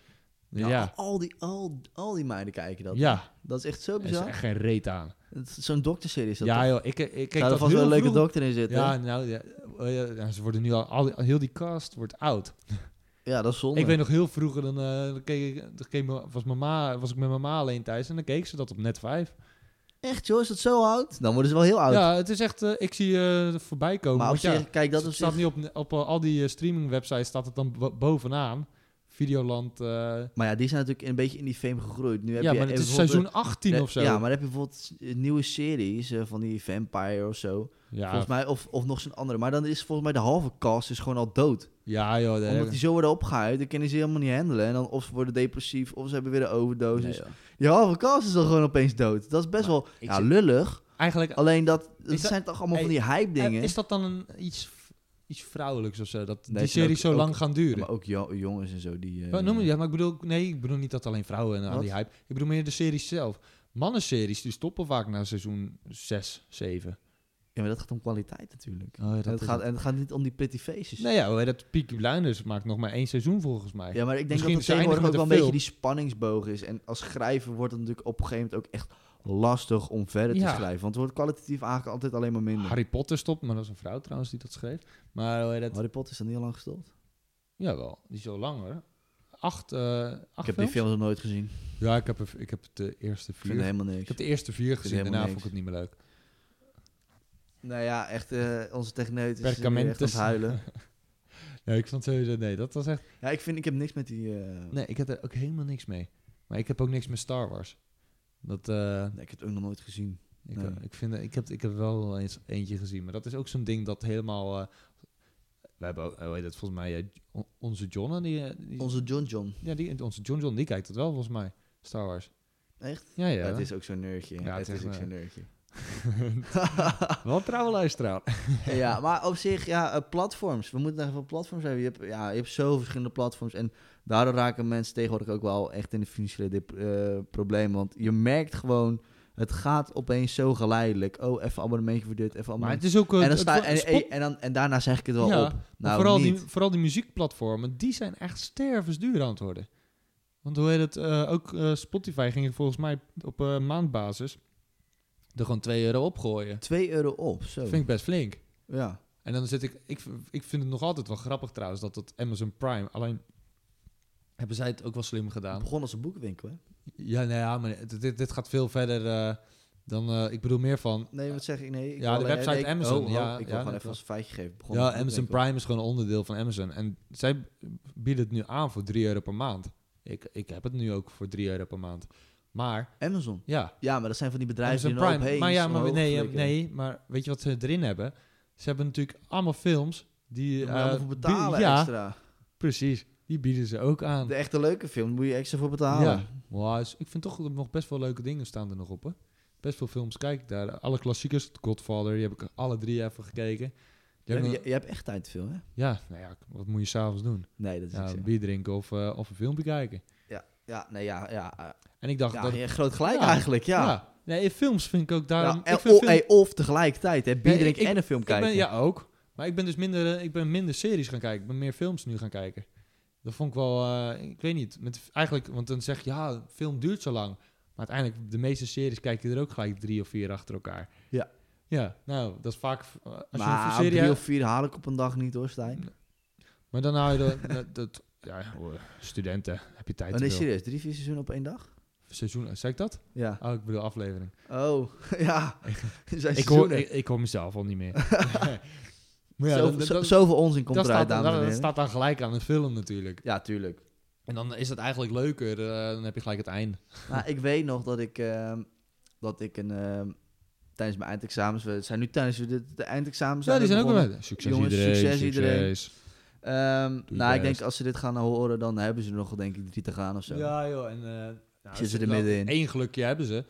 Speaker 2: Ja,
Speaker 1: Ja, ja.
Speaker 2: Al, al die, al, al die meiden kijken dat. Dat is echt zo
Speaker 1: Er is
Speaker 2: bizar.
Speaker 1: echt geen reet aan.
Speaker 2: Het is Zo'n dokterserie is dat
Speaker 1: Ja,
Speaker 2: toch?
Speaker 1: joh, ik, ik ik keek
Speaker 2: Zou er
Speaker 1: dat
Speaker 2: vast
Speaker 1: heel
Speaker 2: wel een leuke
Speaker 1: vroeger.
Speaker 2: dokter in zitten.
Speaker 1: Ja,
Speaker 2: Ja,
Speaker 1: nou, ja, eh, ja, ze worden nu al, al, heel die cast wordt oud.
Speaker 2: dat is zonde.
Speaker 1: Ik weet nog heel vroeger, dan, eh, dan keek ik, dan keek me- was, mama, was ik met mama alleen thuis en dan keek ze dat op net 5.
Speaker 2: Echt joh, is dat zo oud? Dan worden ze wel heel oud.
Speaker 1: Ja, het is echt, eh, ik zie eh voorbij komen.
Speaker 2: maar op
Speaker 1: want ja,
Speaker 2: zich, kijk, dat
Speaker 1: het
Speaker 2: is
Speaker 1: staat nu op, op eh, al die eh, streaming websites staat het dan bo- bovenaan. Videoland. eh,
Speaker 2: Maar ja, die zijn natuurlijk een beetje in die fame gegroeid. Nu heb
Speaker 1: ja,
Speaker 2: je
Speaker 1: maar het is
Speaker 2: bijvoorbeeld-
Speaker 1: seizoen 18
Speaker 2: Nee,
Speaker 1: of zo.
Speaker 2: Ja, maar dan heb je bijvoorbeeld eh, nieuwe series eh, van die Vampire of zo.
Speaker 1: ja,
Speaker 2: Volgens mij, of, of nog zo'n andere. Maar dan is volgens mij de halve cast is gewoon al dood.
Speaker 1: ja, joh. daar heb-
Speaker 2: Omdat die zo worden opgehuid, dan kunnen ze helemaal niet handelen. En dan of ze worden depressief, of ze hebben weer een
Speaker 1: Nee,
Speaker 2: overdosis.
Speaker 1: joh.
Speaker 2: Die halve cast is dan gewoon opeens dood. Dat is best
Speaker 1: Maar
Speaker 2: wel
Speaker 1: ik
Speaker 2: ja,
Speaker 1: zit-
Speaker 2: lullig.
Speaker 1: Eigenlijk,
Speaker 2: Alleen dat, dat
Speaker 1: dat-
Speaker 2: zijn toch allemaal
Speaker 1: Hey,
Speaker 2: van die hype
Speaker 1: eh,
Speaker 2: dingen.
Speaker 1: is dat dan een, iets, iets vrouwelijks of zo? Dat
Speaker 2: Nee,
Speaker 1: die
Speaker 2: ik vind
Speaker 1: serie
Speaker 2: ook-
Speaker 1: zo
Speaker 2: ook-
Speaker 1: lang gaan duren?
Speaker 2: maar ook jo- jongens en zo die. eh,
Speaker 1: Wat noem je dat? Maar ik bedoel, nee, ik bedoel niet dat alleen vrouwen aan
Speaker 2: Wat?
Speaker 1: die hype. Ik bedoel meer de series zelf. Mannenseries die stoppen vaak na seizoen 6, 7.
Speaker 2: Ja, maar dat gaat om kwaliteit natuurlijk.
Speaker 1: Oh, ja,
Speaker 2: en, het gaat, en het gaat niet om die pretty faces.
Speaker 1: Nou ja, hoe heet dat Peaky Blinders maakt nog maar één seizoen volgens mij.
Speaker 2: Ja, maar ik denk
Speaker 1: Misschien
Speaker 2: dat het
Speaker 1: ze eindigen
Speaker 2: tegenwoordig ook wel een
Speaker 1: met
Speaker 2: beetje
Speaker 1: een
Speaker 2: die spanningsboog is. En als schrijver wordt het natuurlijk op een gegeven moment ook echt lastig om verder te
Speaker 1: Ja.
Speaker 2: schrijven. Want het wordt kwalitatief eigenlijk altijd alleen maar minder. Harry,
Speaker 1: Harry Potter stopt, maar dat is een vrouw trouwens die dat schreef. Maar hoe heet dat?
Speaker 2: Potter is dan niet al lang gestopt.
Speaker 1: Jawel, die is al langer. Acht, eh acht
Speaker 2: Ik heb die
Speaker 1: films?
Speaker 2: films nog nooit gezien.
Speaker 1: Ja, ik heb, er- ik heb de eerste
Speaker 2: Ik
Speaker 1: vier.
Speaker 2: vind het helemaal
Speaker 1: Ik
Speaker 2: niks.
Speaker 1: heb de eerste vier gezien,
Speaker 2: helemaal
Speaker 1: daarna
Speaker 2: niks.
Speaker 1: vond ik het niet meer leuk.
Speaker 2: Nou ja, echt, eh, onze techneut is weer echt aan
Speaker 1: Perkamentus.
Speaker 2: het huilen.
Speaker 1: Nee, ik vond sowieso, nee, dat was echt...
Speaker 2: Ja, ik vind, ik heb niks met die... eh, nee.
Speaker 1: Nee, ik had er ook helemaal niks mee. Maar ik heb ook niks met Star Wars. Dat, eh,
Speaker 2: ik heb het ook nog nooit gezien.
Speaker 1: ik,
Speaker 2: Nee.
Speaker 1: ik, vind, ik, heb, ik heb wel eens eentje gezien, maar dat is ook zo'n ding dat helemaal... eh, we hebben ook, eh, hoe heet dat, volgens mij, eh, on- onze John, en die, eh, die,
Speaker 2: Onze John John.
Speaker 1: ja, die, onze John John, die kijkt dat wel volgens mij, Star Wars.
Speaker 2: Echt?
Speaker 1: Ja,
Speaker 2: Ja,
Speaker 1: ja.
Speaker 2: het is ook zo'n nerdje.
Speaker 1: Ja,
Speaker 2: het
Speaker 1: het
Speaker 2: is
Speaker 1: is
Speaker 2: ook
Speaker 1: een-
Speaker 2: zo'n nerdje.
Speaker 1: Wel trouwe luisteraar.
Speaker 2: ja, maar op zich, ja, eh, platforms. We moeten nog even platforms hebben. Je hebt, ja, je hebt zoveel verschillende platforms. En daardoor raken mensen tegenwoordig ook wel echt in de financiële dip- eh, problemen. Want je merkt gewoon, het gaat opeens zo geleidelijk. Oh, even abonnementje voor dit, even
Speaker 1: Maar het
Speaker 2: abonnementje.
Speaker 1: is ook... een-
Speaker 2: En, dan
Speaker 1: het
Speaker 2: sta,
Speaker 1: wordt
Speaker 2: en,
Speaker 1: een spot-
Speaker 2: en, en, dan, en daarna zeg ik het wel
Speaker 1: Ja,
Speaker 2: op.
Speaker 1: Maar
Speaker 2: Nou,
Speaker 1: vooral,
Speaker 2: niet.
Speaker 1: Die, vooral die muziekplatformen, die zijn echt stervensduur aan het worden. Want hoe heet het, eh, ook eh, Spotify ging er volgens mij op eh, maandbasis er gewoon 2 euro opgooien.
Speaker 2: 2 euro op, zo.
Speaker 1: Dat vind ik best flink.
Speaker 2: Ja.
Speaker 1: En dan zit ik, ik, ik vind het nog altijd wel grappig trouwens, dat dat Amazon Prime, alleen hebben zij het ook wel slim
Speaker 2: Het
Speaker 1: gedaan.
Speaker 2: begon als een boekenwinkel, hè?
Speaker 1: Ja, nou ja, maar dit- dit, dit gaat veel verder eh, dan, eh, ik bedoel meer van...
Speaker 2: Nee, wat zeg ik? Nee,
Speaker 1: Ja,
Speaker 2: ik wil
Speaker 1: de
Speaker 2: alleen-
Speaker 1: website
Speaker 2: nee, ik-
Speaker 1: Amazon,
Speaker 2: oh, oh,
Speaker 1: ja,
Speaker 2: ik wil
Speaker 1: ja,
Speaker 2: gewoon
Speaker 1: net
Speaker 2: even
Speaker 1: wel.
Speaker 2: als een feitje geven. Het begon als
Speaker 1: Ja,
Speaker 2: een
Speaker 1: Amazon
Speaker 2: boekenwinkel.
Speaker 1: Prime is gewoon een onderdeel van Amazon. En zij bieden het nu aan voor 3 euro per maand. Ik, ik heb het nu ook voor 3 euro per maand. Maar,
Speaker 2: Amazon.
Speaker 1: ja,
Speaker 2: Ja, maar dat zijn van die bedrijven
Speaker 1: Amazon
Speaker 2: die dan
Speaker 1: Prime.
Speaker 2: opeens
Speaker 1: Maar ja, maar
Speaker 2: omhoog
Speaker 1: nee, ja,
Speaker 2: flikkeren.
Speaker 1: nee, maar weet je wat ze erin hebben? Ze hebben natuurlijk allemaal films die...
Speaker 2: Daar moet je
Speaker 1: eh,
Speaker 2: allemaal voor
Speaker 1: bieden-
Speaker 2: betalen
Speaker 1: Ja,
Speaker 2: extra.
Speaker 1: precies. Die bieden ze ook aan.
Speaker 2: De echte leuke film moet je extra voor betalen.
Speaker 1: Ja. Wow, dus ik vind toch dat er nog best wel leuke dingen staan er nog op, hè? Best veel films kijk ik daar. Alle klassiekers, The Godfather, die heb ik alle drie even gekeken.
Speaker 2: Je,
Speaker 1: Die heb ik
Speaker 2: je,
Speaker 1: nog-
Speaker 2: je hebt echt tijd veel, hè?
Speaker 1: ja, nou ja, wat moet je s'avonds doen?
Speaker 2: Nee, dat is
Speaker 1: Ja,
Speaker 2: ja,
Speaker 1: een bier drinken of, eh, of een filmpje kijken.
Speaker 2: ja, nee, ja, ja, eh,
Speaker 1: En ik dacht
Speaker 2: ja,
Speaker 1: dat...
Speaker 2: ja, groot gelijk
Speaker 1: Ja.
Speaker 2: eigenlijk, ja. ja.
Speaker 1: Nee, in films vind ik ook daarom...
Speaker 2: en-
Speaker 1: ik vind
Speaker 2: of,
Speaker 1: film-
Speaker 2: hey, of tegelijkertijd, hè? Bier
Speaker 1: Nee,
Speaker 2: drinken
Speaker 1: ik-
Speaker 2: en een film
Speaker 1: ik
Speaker 2: kijken.
Speaker 1: ben, ja, ook. Maar ik ben dus minder, eh, ik ben minder series gaan kijken. Ik ben meer films nu gaan kijken. Dat vond ik wel... eh, ik weet niet. Met, eigenlijk, want dan zeg je, ja, een film duurt zo lang. Maar uiteindelijk, de meeste series kijk je er ook gelijk drie of vier achter elkaar.
Speaker 2: Ja.
Speaker 1: Ja, nou, dat is vaak... eh, Als je
Speaker 2: maar
Speaker 1: een serie
Speaker 2: drie
Speaker 1: hebt-
Speaker 2: of vier haal ik op een dag niet, hoor, Stijn.
Speaker 1: Maar dan hou je dat... dat, dat- ja, hoor, studenten, heb je tijd
Speaker 2: Oh, nee,
Speaker 1: te veel.
Speaker 2: serieus, drie, vier seizoenen op één dag?
Speaker 1: Seizoen, zeg ik dat?
Speaker 2: Ja.
Speaker 1: Oh, ik bedoel aflevering.
Speaker 2: Oh, ja. Er zijn
Speaker 1: Ik hoor,
Speaker 2: seizoenen.
Speaker 1: ik, ik hoor mezelf al niet meer. maar ja,
Speaker 2: Zoveel-
Speaker 1: dat,
Speaker 2: zo-
Speaker 1: dat-
Speaker 2: zoveel onzin komt
Speaker 1: dat
Speaker 2: eruit,
Speaker 1: staat,
Speaker 2: dames en
Speaker 1: dat- dat
Speaker 2: heren.
Speaker 1: staat dan gelijk aan een film natuurlijk.
Speaker 2: Ja, tuurlijk.
Speaker 1: En dan is het eigenlijk leuker. eh, dan heb je gelijk het einde.
Speaker 2: Maar Nou, ik weet nog dat ik, ehm, dat ik een, ehm, tijdens mijn eindexamens, we zijn nu tijdens de, de eindexamens.
Speaker 1: Ja, die zijn ook wel
Speaker 2: begonnen.
Speaker 1: leuk. Succes
Speaker 2: Jongens,
Speaker 1: iedereen.
Speaker 2: succes
Speaker 1: Succes
Speaker 2: iedereen. Ehm,
Speaker 1: Doe je
Speaker 2: nou, ik
Speaker 1: best.
Speaker 2: denk als ze dit gaan horen, dan hebben ze er nog, denk ik, drie te gaan of zo.
Speaker 1: Ja joh. En, eh nou,
Speaker 2: Zitten
Speaker 1: ze-
Speaker 2: er
Speaker 1: wel-
Speaker 2: middenin.
Speaker 1: één gelukje hebben ze.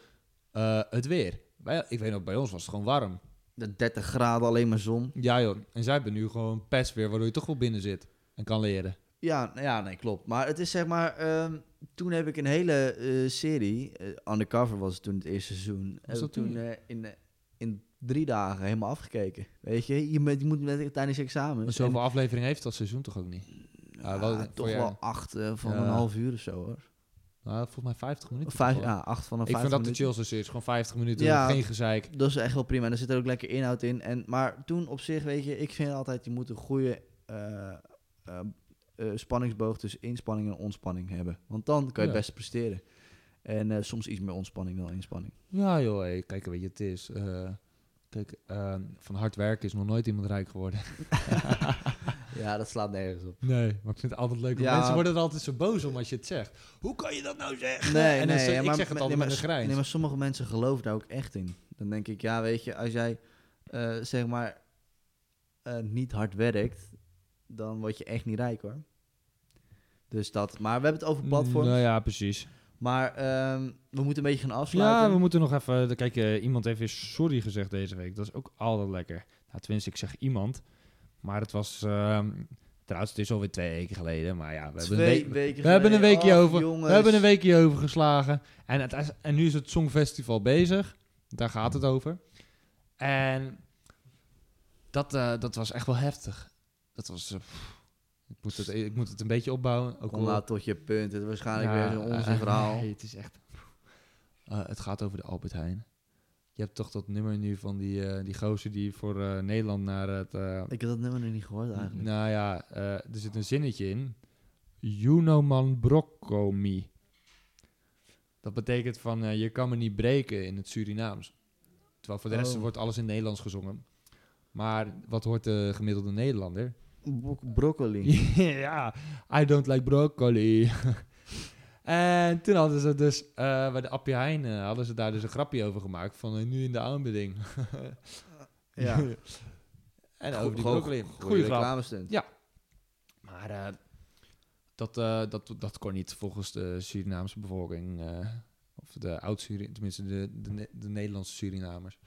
Speaker 1: Eh, het weer. Wij, ik weet nog, bij ons was het gewoon warm.
Speaker 2: De 30 graden, alleen maar zon.
Speaker 1: Ja joh. En zij hebben nu gewoon pest weer. Waardoor je toch wel binnen zit. En kan leren.
Speaker 2: Ja, nou ja, nee, klopt. Maar het is zeg maar, ehm, toen heb ik een hele eh, serie, eh, Undercover was het toen het eerste seizoen, heb
Speaker 1: dat
Speaker 2: ik toen
Speaker 1: toen?
Speaker 2: eh, in, eh, in drie dagen helemaal afgekeken. Weet je, je, moet- je moet met, tijdens
Speaker 1: Maar
Speaker 2: examens.
Speaker 1: zoveel afleveringen heeft dat seizoen toch ook niet? Ja,
Speaker 2: Mm, Ja,
Speaker 1: wel- voor
Speaker 2: toch
Speaker 1: je-
Speaker 2: wel acht eh, van
Speaker 1: Ja.
Speaker 2: een half uur of zo hoor.
Speaker 1: Nou, volgens mij 50 minuten.
Speaker 2: Vijf,
Speaker 1: toch wel.
Speaker 2: ja, acht van een
Speaker 1: ik
Speaker 2: vijf
Speaker 1: vind dat de
Speaker 2: minuten.
Speaker 1: chillste series. Gewoon 50 minuten.
Speaker 2: Ja.
Speaker 1: Geen gezeik.
Speaker 2: Dat is echt wel prima. En er zit er ook lekker inhoud in. En, maar toen op zich, weet je, ik vind altijd, je moet een goede eh, eh, eh, spanningsboog tussen inspanning en ontspanning hebben. Want dan kan je
Speaker 1: Ja.
Speaker 2: het best presteren. En eh, soms iets meer ontspanning dan inspanning.
Speaker 1: Ja, joh, hey, kijk, weet je, het is. eh, kijk, eh, van hard werken is nog nooit iemand rijk geworden.
Speaker 2: Ja, dat slaat nergens op.
Speaker 1: Nee, maar ik vind het altijd leuk. want
Speaker 2: Ja.
Speaker 1: Mensen worden er altijd zo boos om als je het zegt. Hoe kan je dat nou zeggen?
Speaker 2: Nee,
Speaker 1: en dan
Speaker 2: nee,
Speaker 1: zeg-
Speaker 2: ja,
Speaker 1: ik
Speaker 2: maar-
Speaker 1: zeg het
Speaker 2: nee,
Speaker 1: altijd
Speaker 2: maar,
Speaker 1: met een grijns.
Speaker 2: Nee, maar sommige mensen geloven daar ook echt in. Dan denk ik, ja, weet je, als jij eh, zeg maar eh, niet hard werkt, dan word je echt niet rijk hoor. Dus dat. Maar we hebben het over platforms.
Speaker 1: Nou ja, precies.
Speaker 2: Maar ehm, we moeten een beetje gaan
Speaker 1: Ja,
Speaker 2: afsluiten.
Speaker 1: we moeten nog even... Kijk, eh, iemand heeft weer sorry gezegd deze week. Dat is ook altijd lekker. Nou, tenminste, ik zeg iemand. Maar het was... ehm, trouwens, het is alweer twee weken geleden. Maar ja, we hebben een
Speaker 2: Twee
Speaker 1: week...
Speaker 2: weken
Speaker 1: We hebben een
Speaker 2: geleden.
Speaker 1: weekje
Speaker 2: Och,
Speaker 1: over.
Speaker 2: jongens.
Speaker 1: We hebben een weekje over geslagen. En, het, is- en nu is het Songfestival bezig. Daar gaat het over. En dat, eh, dat was echt wel heftig. Dat was... eh, pff, ik, moet het, ik moet het een beetje opbouwen. Ook
Speaker 2: Kom
Speaker 1: al-
Speaker 2: nou tot je punt. Het is waarschijnlijk
Speaker 1: Ja,
Speaker 2: weer zo'n onzin
Speaker 1: eh,
Speaker 2: verhaal.
Speaker 1: nee, het is echt... Eh, het gaat over de Albert Heijn. Je hebt toch dat nummer nu van die, eh, die gozer die voor eh, Nederland naar het... eh,
Speaker 2: Ik heb dat nummer nog niet gehoord eigenlijk.
Speaker 1: nou ja, eh, er zit een zinnetje in. Junoman brokkomi. Dat betekent van eh, je kan me niet breken in het Surinaams. Terwijl voor de rest
Speaker 2: Oh.
Speaker 1: wordt alles in het Nederlands gezongen. Maar wat hoort de gemiddelde Nederlander?
Speaker 2: Bro- broccoli.
Speaker 1: ja, I don't like broccoli. en toen hadden ze dus eh, bij de Appie Heijn eh, hadden ze daar dus een grapje over gemaakt van eh, nu in de aanbieding.
Speaker 2: Ja.
Speaker 1: en
Speaker 2: Go-
Speaker 1: over die
Speaker 2: gewoon
Speaker 1: broccoli.
Speaker 2: go-
Speaker 1: Goeie grap.
Speaker 2: reclame stunt.
Speaker 1: Maar eh, dat, eh, dat, dat kon niet volgens de Surinaamse bevolking. eh, of de oud-Surinamers, tenminste de, de, Ne- de Nederlandse Surinamers.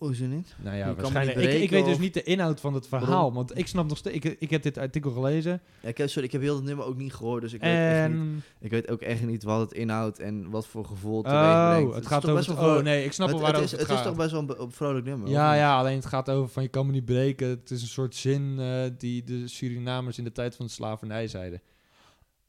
Speaker 2: Hoezo niet?
Speaker 1: Nou ja,
Speaker 2: me
Speaker 1: waarschijnlijk.
Speaker 2: niet
Speaker 1: Ik, ik
Speaker 2: breken
Speaker 1: weet dus
Speaker 2: of-
Speaker 1: niet de inhoud van het verhaal.
Speaker 2: Waarom?
Speaker 1: Want ik snap nog steeds. Ik, ik heb dit artikel gelezen.
Speaker 2: Ja, ik heb, sorry, ik heb heel dat nummer ook niet gehoord, dus ik weet, echt niet,
Speaker 1: En.
Speaker 2: ik weet ook echt niet wat het inhoudt en wat voor gevoel het teweeg brengt.
Speaker 1: Oh,
Speaker 2: is
Speaker 1: het gaat
Speaker 2: toch
Speaker 1: over.
Speaker 2: best
Speaker 1: het-
Speaker 2: wel
Speaker 1: Oh
Speaker 2: vrolijk-
Speaker 1: nee, ik snap
Speaker 2: het,
Speaker 1: wel waar
Speaker 2: het
Speaker 1: het
Speaker 2: is,
Speaker 1: over
Speaker 2: het is toch
Speaker 1: gaat.
Speaker 2: best wel een be- een vrolijk nummer?
Speaker 1: Ja,
Speaker 2: of niet?
Speaker 1: ja, alleen het gaat over van je kan me niet breken. Het is een soort zin eh, die de Surinamers in de tijd van de slavernij zeiden.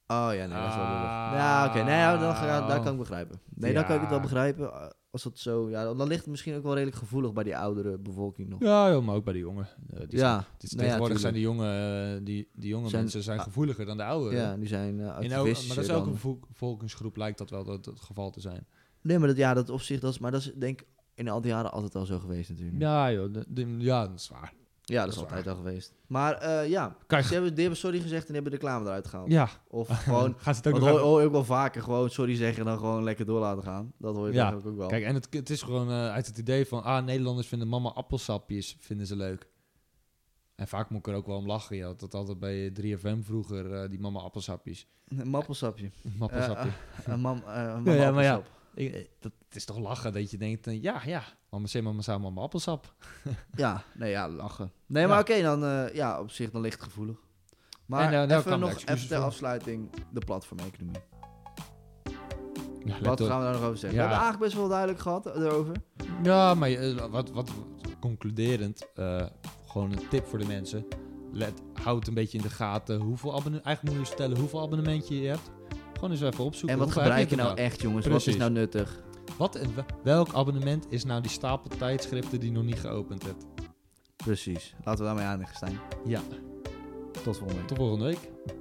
Speaker 2: Oh ja, nee, dat is wel lullig.
Speaker 1: Ah.
Speaker 2: Ja, Nou, oké, nee, ja, dan, ja, daar kan ik begrijpen. Nee, dan kan ik het wel
Speaker 1: Ja.
Speaker 2: begrijpen. eh, Als dat zo, ja, dan, dan ligt het misschien ook wel redelijk gevoelig bij die oudere bevolking nog.
Speaker 1: Ja, joh, maar ook bij de jongen. Eh, die zijn-
Speaker 2: Ja,
Speaker 1: Dus
Speaker 2: nou ja,
Speaker 1: tegenwoordig zijn
Speaker 2: tuurlijk.
Speaker 1: die jonge, eh, die, die jonge
Speaker 2: Zijn-
Speaker 1: mensen zijn
Speaker 2: ah,
Speaker 1: gevoeliger dan de ouderen.
Speaker 2: ja, die zijn
Speaker 1: In
Speaker 2: eh
Speaker 1: elk- maar
Speaker 2: activistischer
Speaker 1: dat is ook
Speaker 2: dan-
Speaker 1: een volk- bevolkingsgroep, lijkt dat wel dat het geval te zijn.
Speaker 2: Nee, maar dat, ja, dat op zich, dat is, maar dat is denk ik in al die jaren altijd al zo geweest natuurlijk. Ja,
Speaker 1: Ja, joh, de- de- ja, dat is waar.
Speaker 2: dat
Speaker 1: dat
Speaker 2: is
Speaker 1: is
Speaker 2: altijd al geweest. Maar eh, ja,
Speaker 1: Kan je-
Speaker 2: ze hebben, die hebben sorry gezegd en hebben de reclame eruit gehaald.
Speaker 1: Ja,
Speaker 2: Of gewoon,
Speaker 1: gaat het ook
Speaker 2: dat
Speaker 1: nog
Speaker 2: hoor,
Speaker 1: even-
Speaker 2: hoor je ook wel vaker, gewoon sorry zeggen en dan gewoon lekker door laten gaan. Dat hoor je
Speaker 1: Ja,
Speaker 2: eigenlijk ook wel.
Speaker 1: Kijk, en het, het is gewoon eh, uit het idee van, ah, Nederlanders vinden mama appelsapjes, vinden ze leuk. En vaak moet ik er ook wel om lachen. Je had dat altijd bij 3FM vroeger, eh, die mama appelsapjes.
Speaker 2: Een mappelsapje.
Speaker 1: Mappelsapje.
Speaker 2: Eh, eh, een mam, eh, een
Speaker 1: Ja, ja, maar ja.
Speaker 2: mamappelsap.
Speaker 1: Ik- eh, dat, het is toch lachen dat je denkt, eh, ja, ja, mama zei mama zei mama appelsap.
Speaker 2: Ja, nee, ja, lachen. Nee,
Speaker 1: Ja.
Speaker 2: maar oké, dan, eh, ja, op zich, dan ligt het gevoelig. Maar
Speaker 1: En, eh, daar
Speaker 2: even
Speaker 1: kwamen de
Speaker 2: nog,
Speaker 1: excuses
Speaker 2: even ter
Speaker 1: voor.
Speaker 2: afsluiting, de platformeconomie.
Speaker 1: Ja, let
Speaker 2: Wat
Speaker 1: op.
Speaker 2: gaan we daar nog over zeggen?
Speaker 1: Ja.
Speaker 2: We hebben eigenlijk best wel duidelijk gehad erover.
Speaker 1: Ja, maar eh, wat, wat concluderend, eh, gewoon een tip voor de mensen. Let, houd een beetje in de gaten hoeveel abonnementen. Eigenlijk moet je stellen hoeveel abonnementje je hebt. Gewoon eens even opzoeken.
Speaker 2: En wat
Speaker 1: hoeveel heb
Speaker 2: gebruik je nou
Speaker 1: er
Speaker 2: echt, jongens? Wat
Speaker 1: Precies.
Speaker 2: is nou nuttig?
Speaker 1: Wat, en wel- welk abonnement is nou die stapel tijdschriften die je nog niet geopend hebt?
Speaker 2: Precies. Laten we daarmee eindigen, Stijn.
Speaker 1: Ja.
Speaker 2: Tot volgende week.
Speaker 1: Tot volgende week.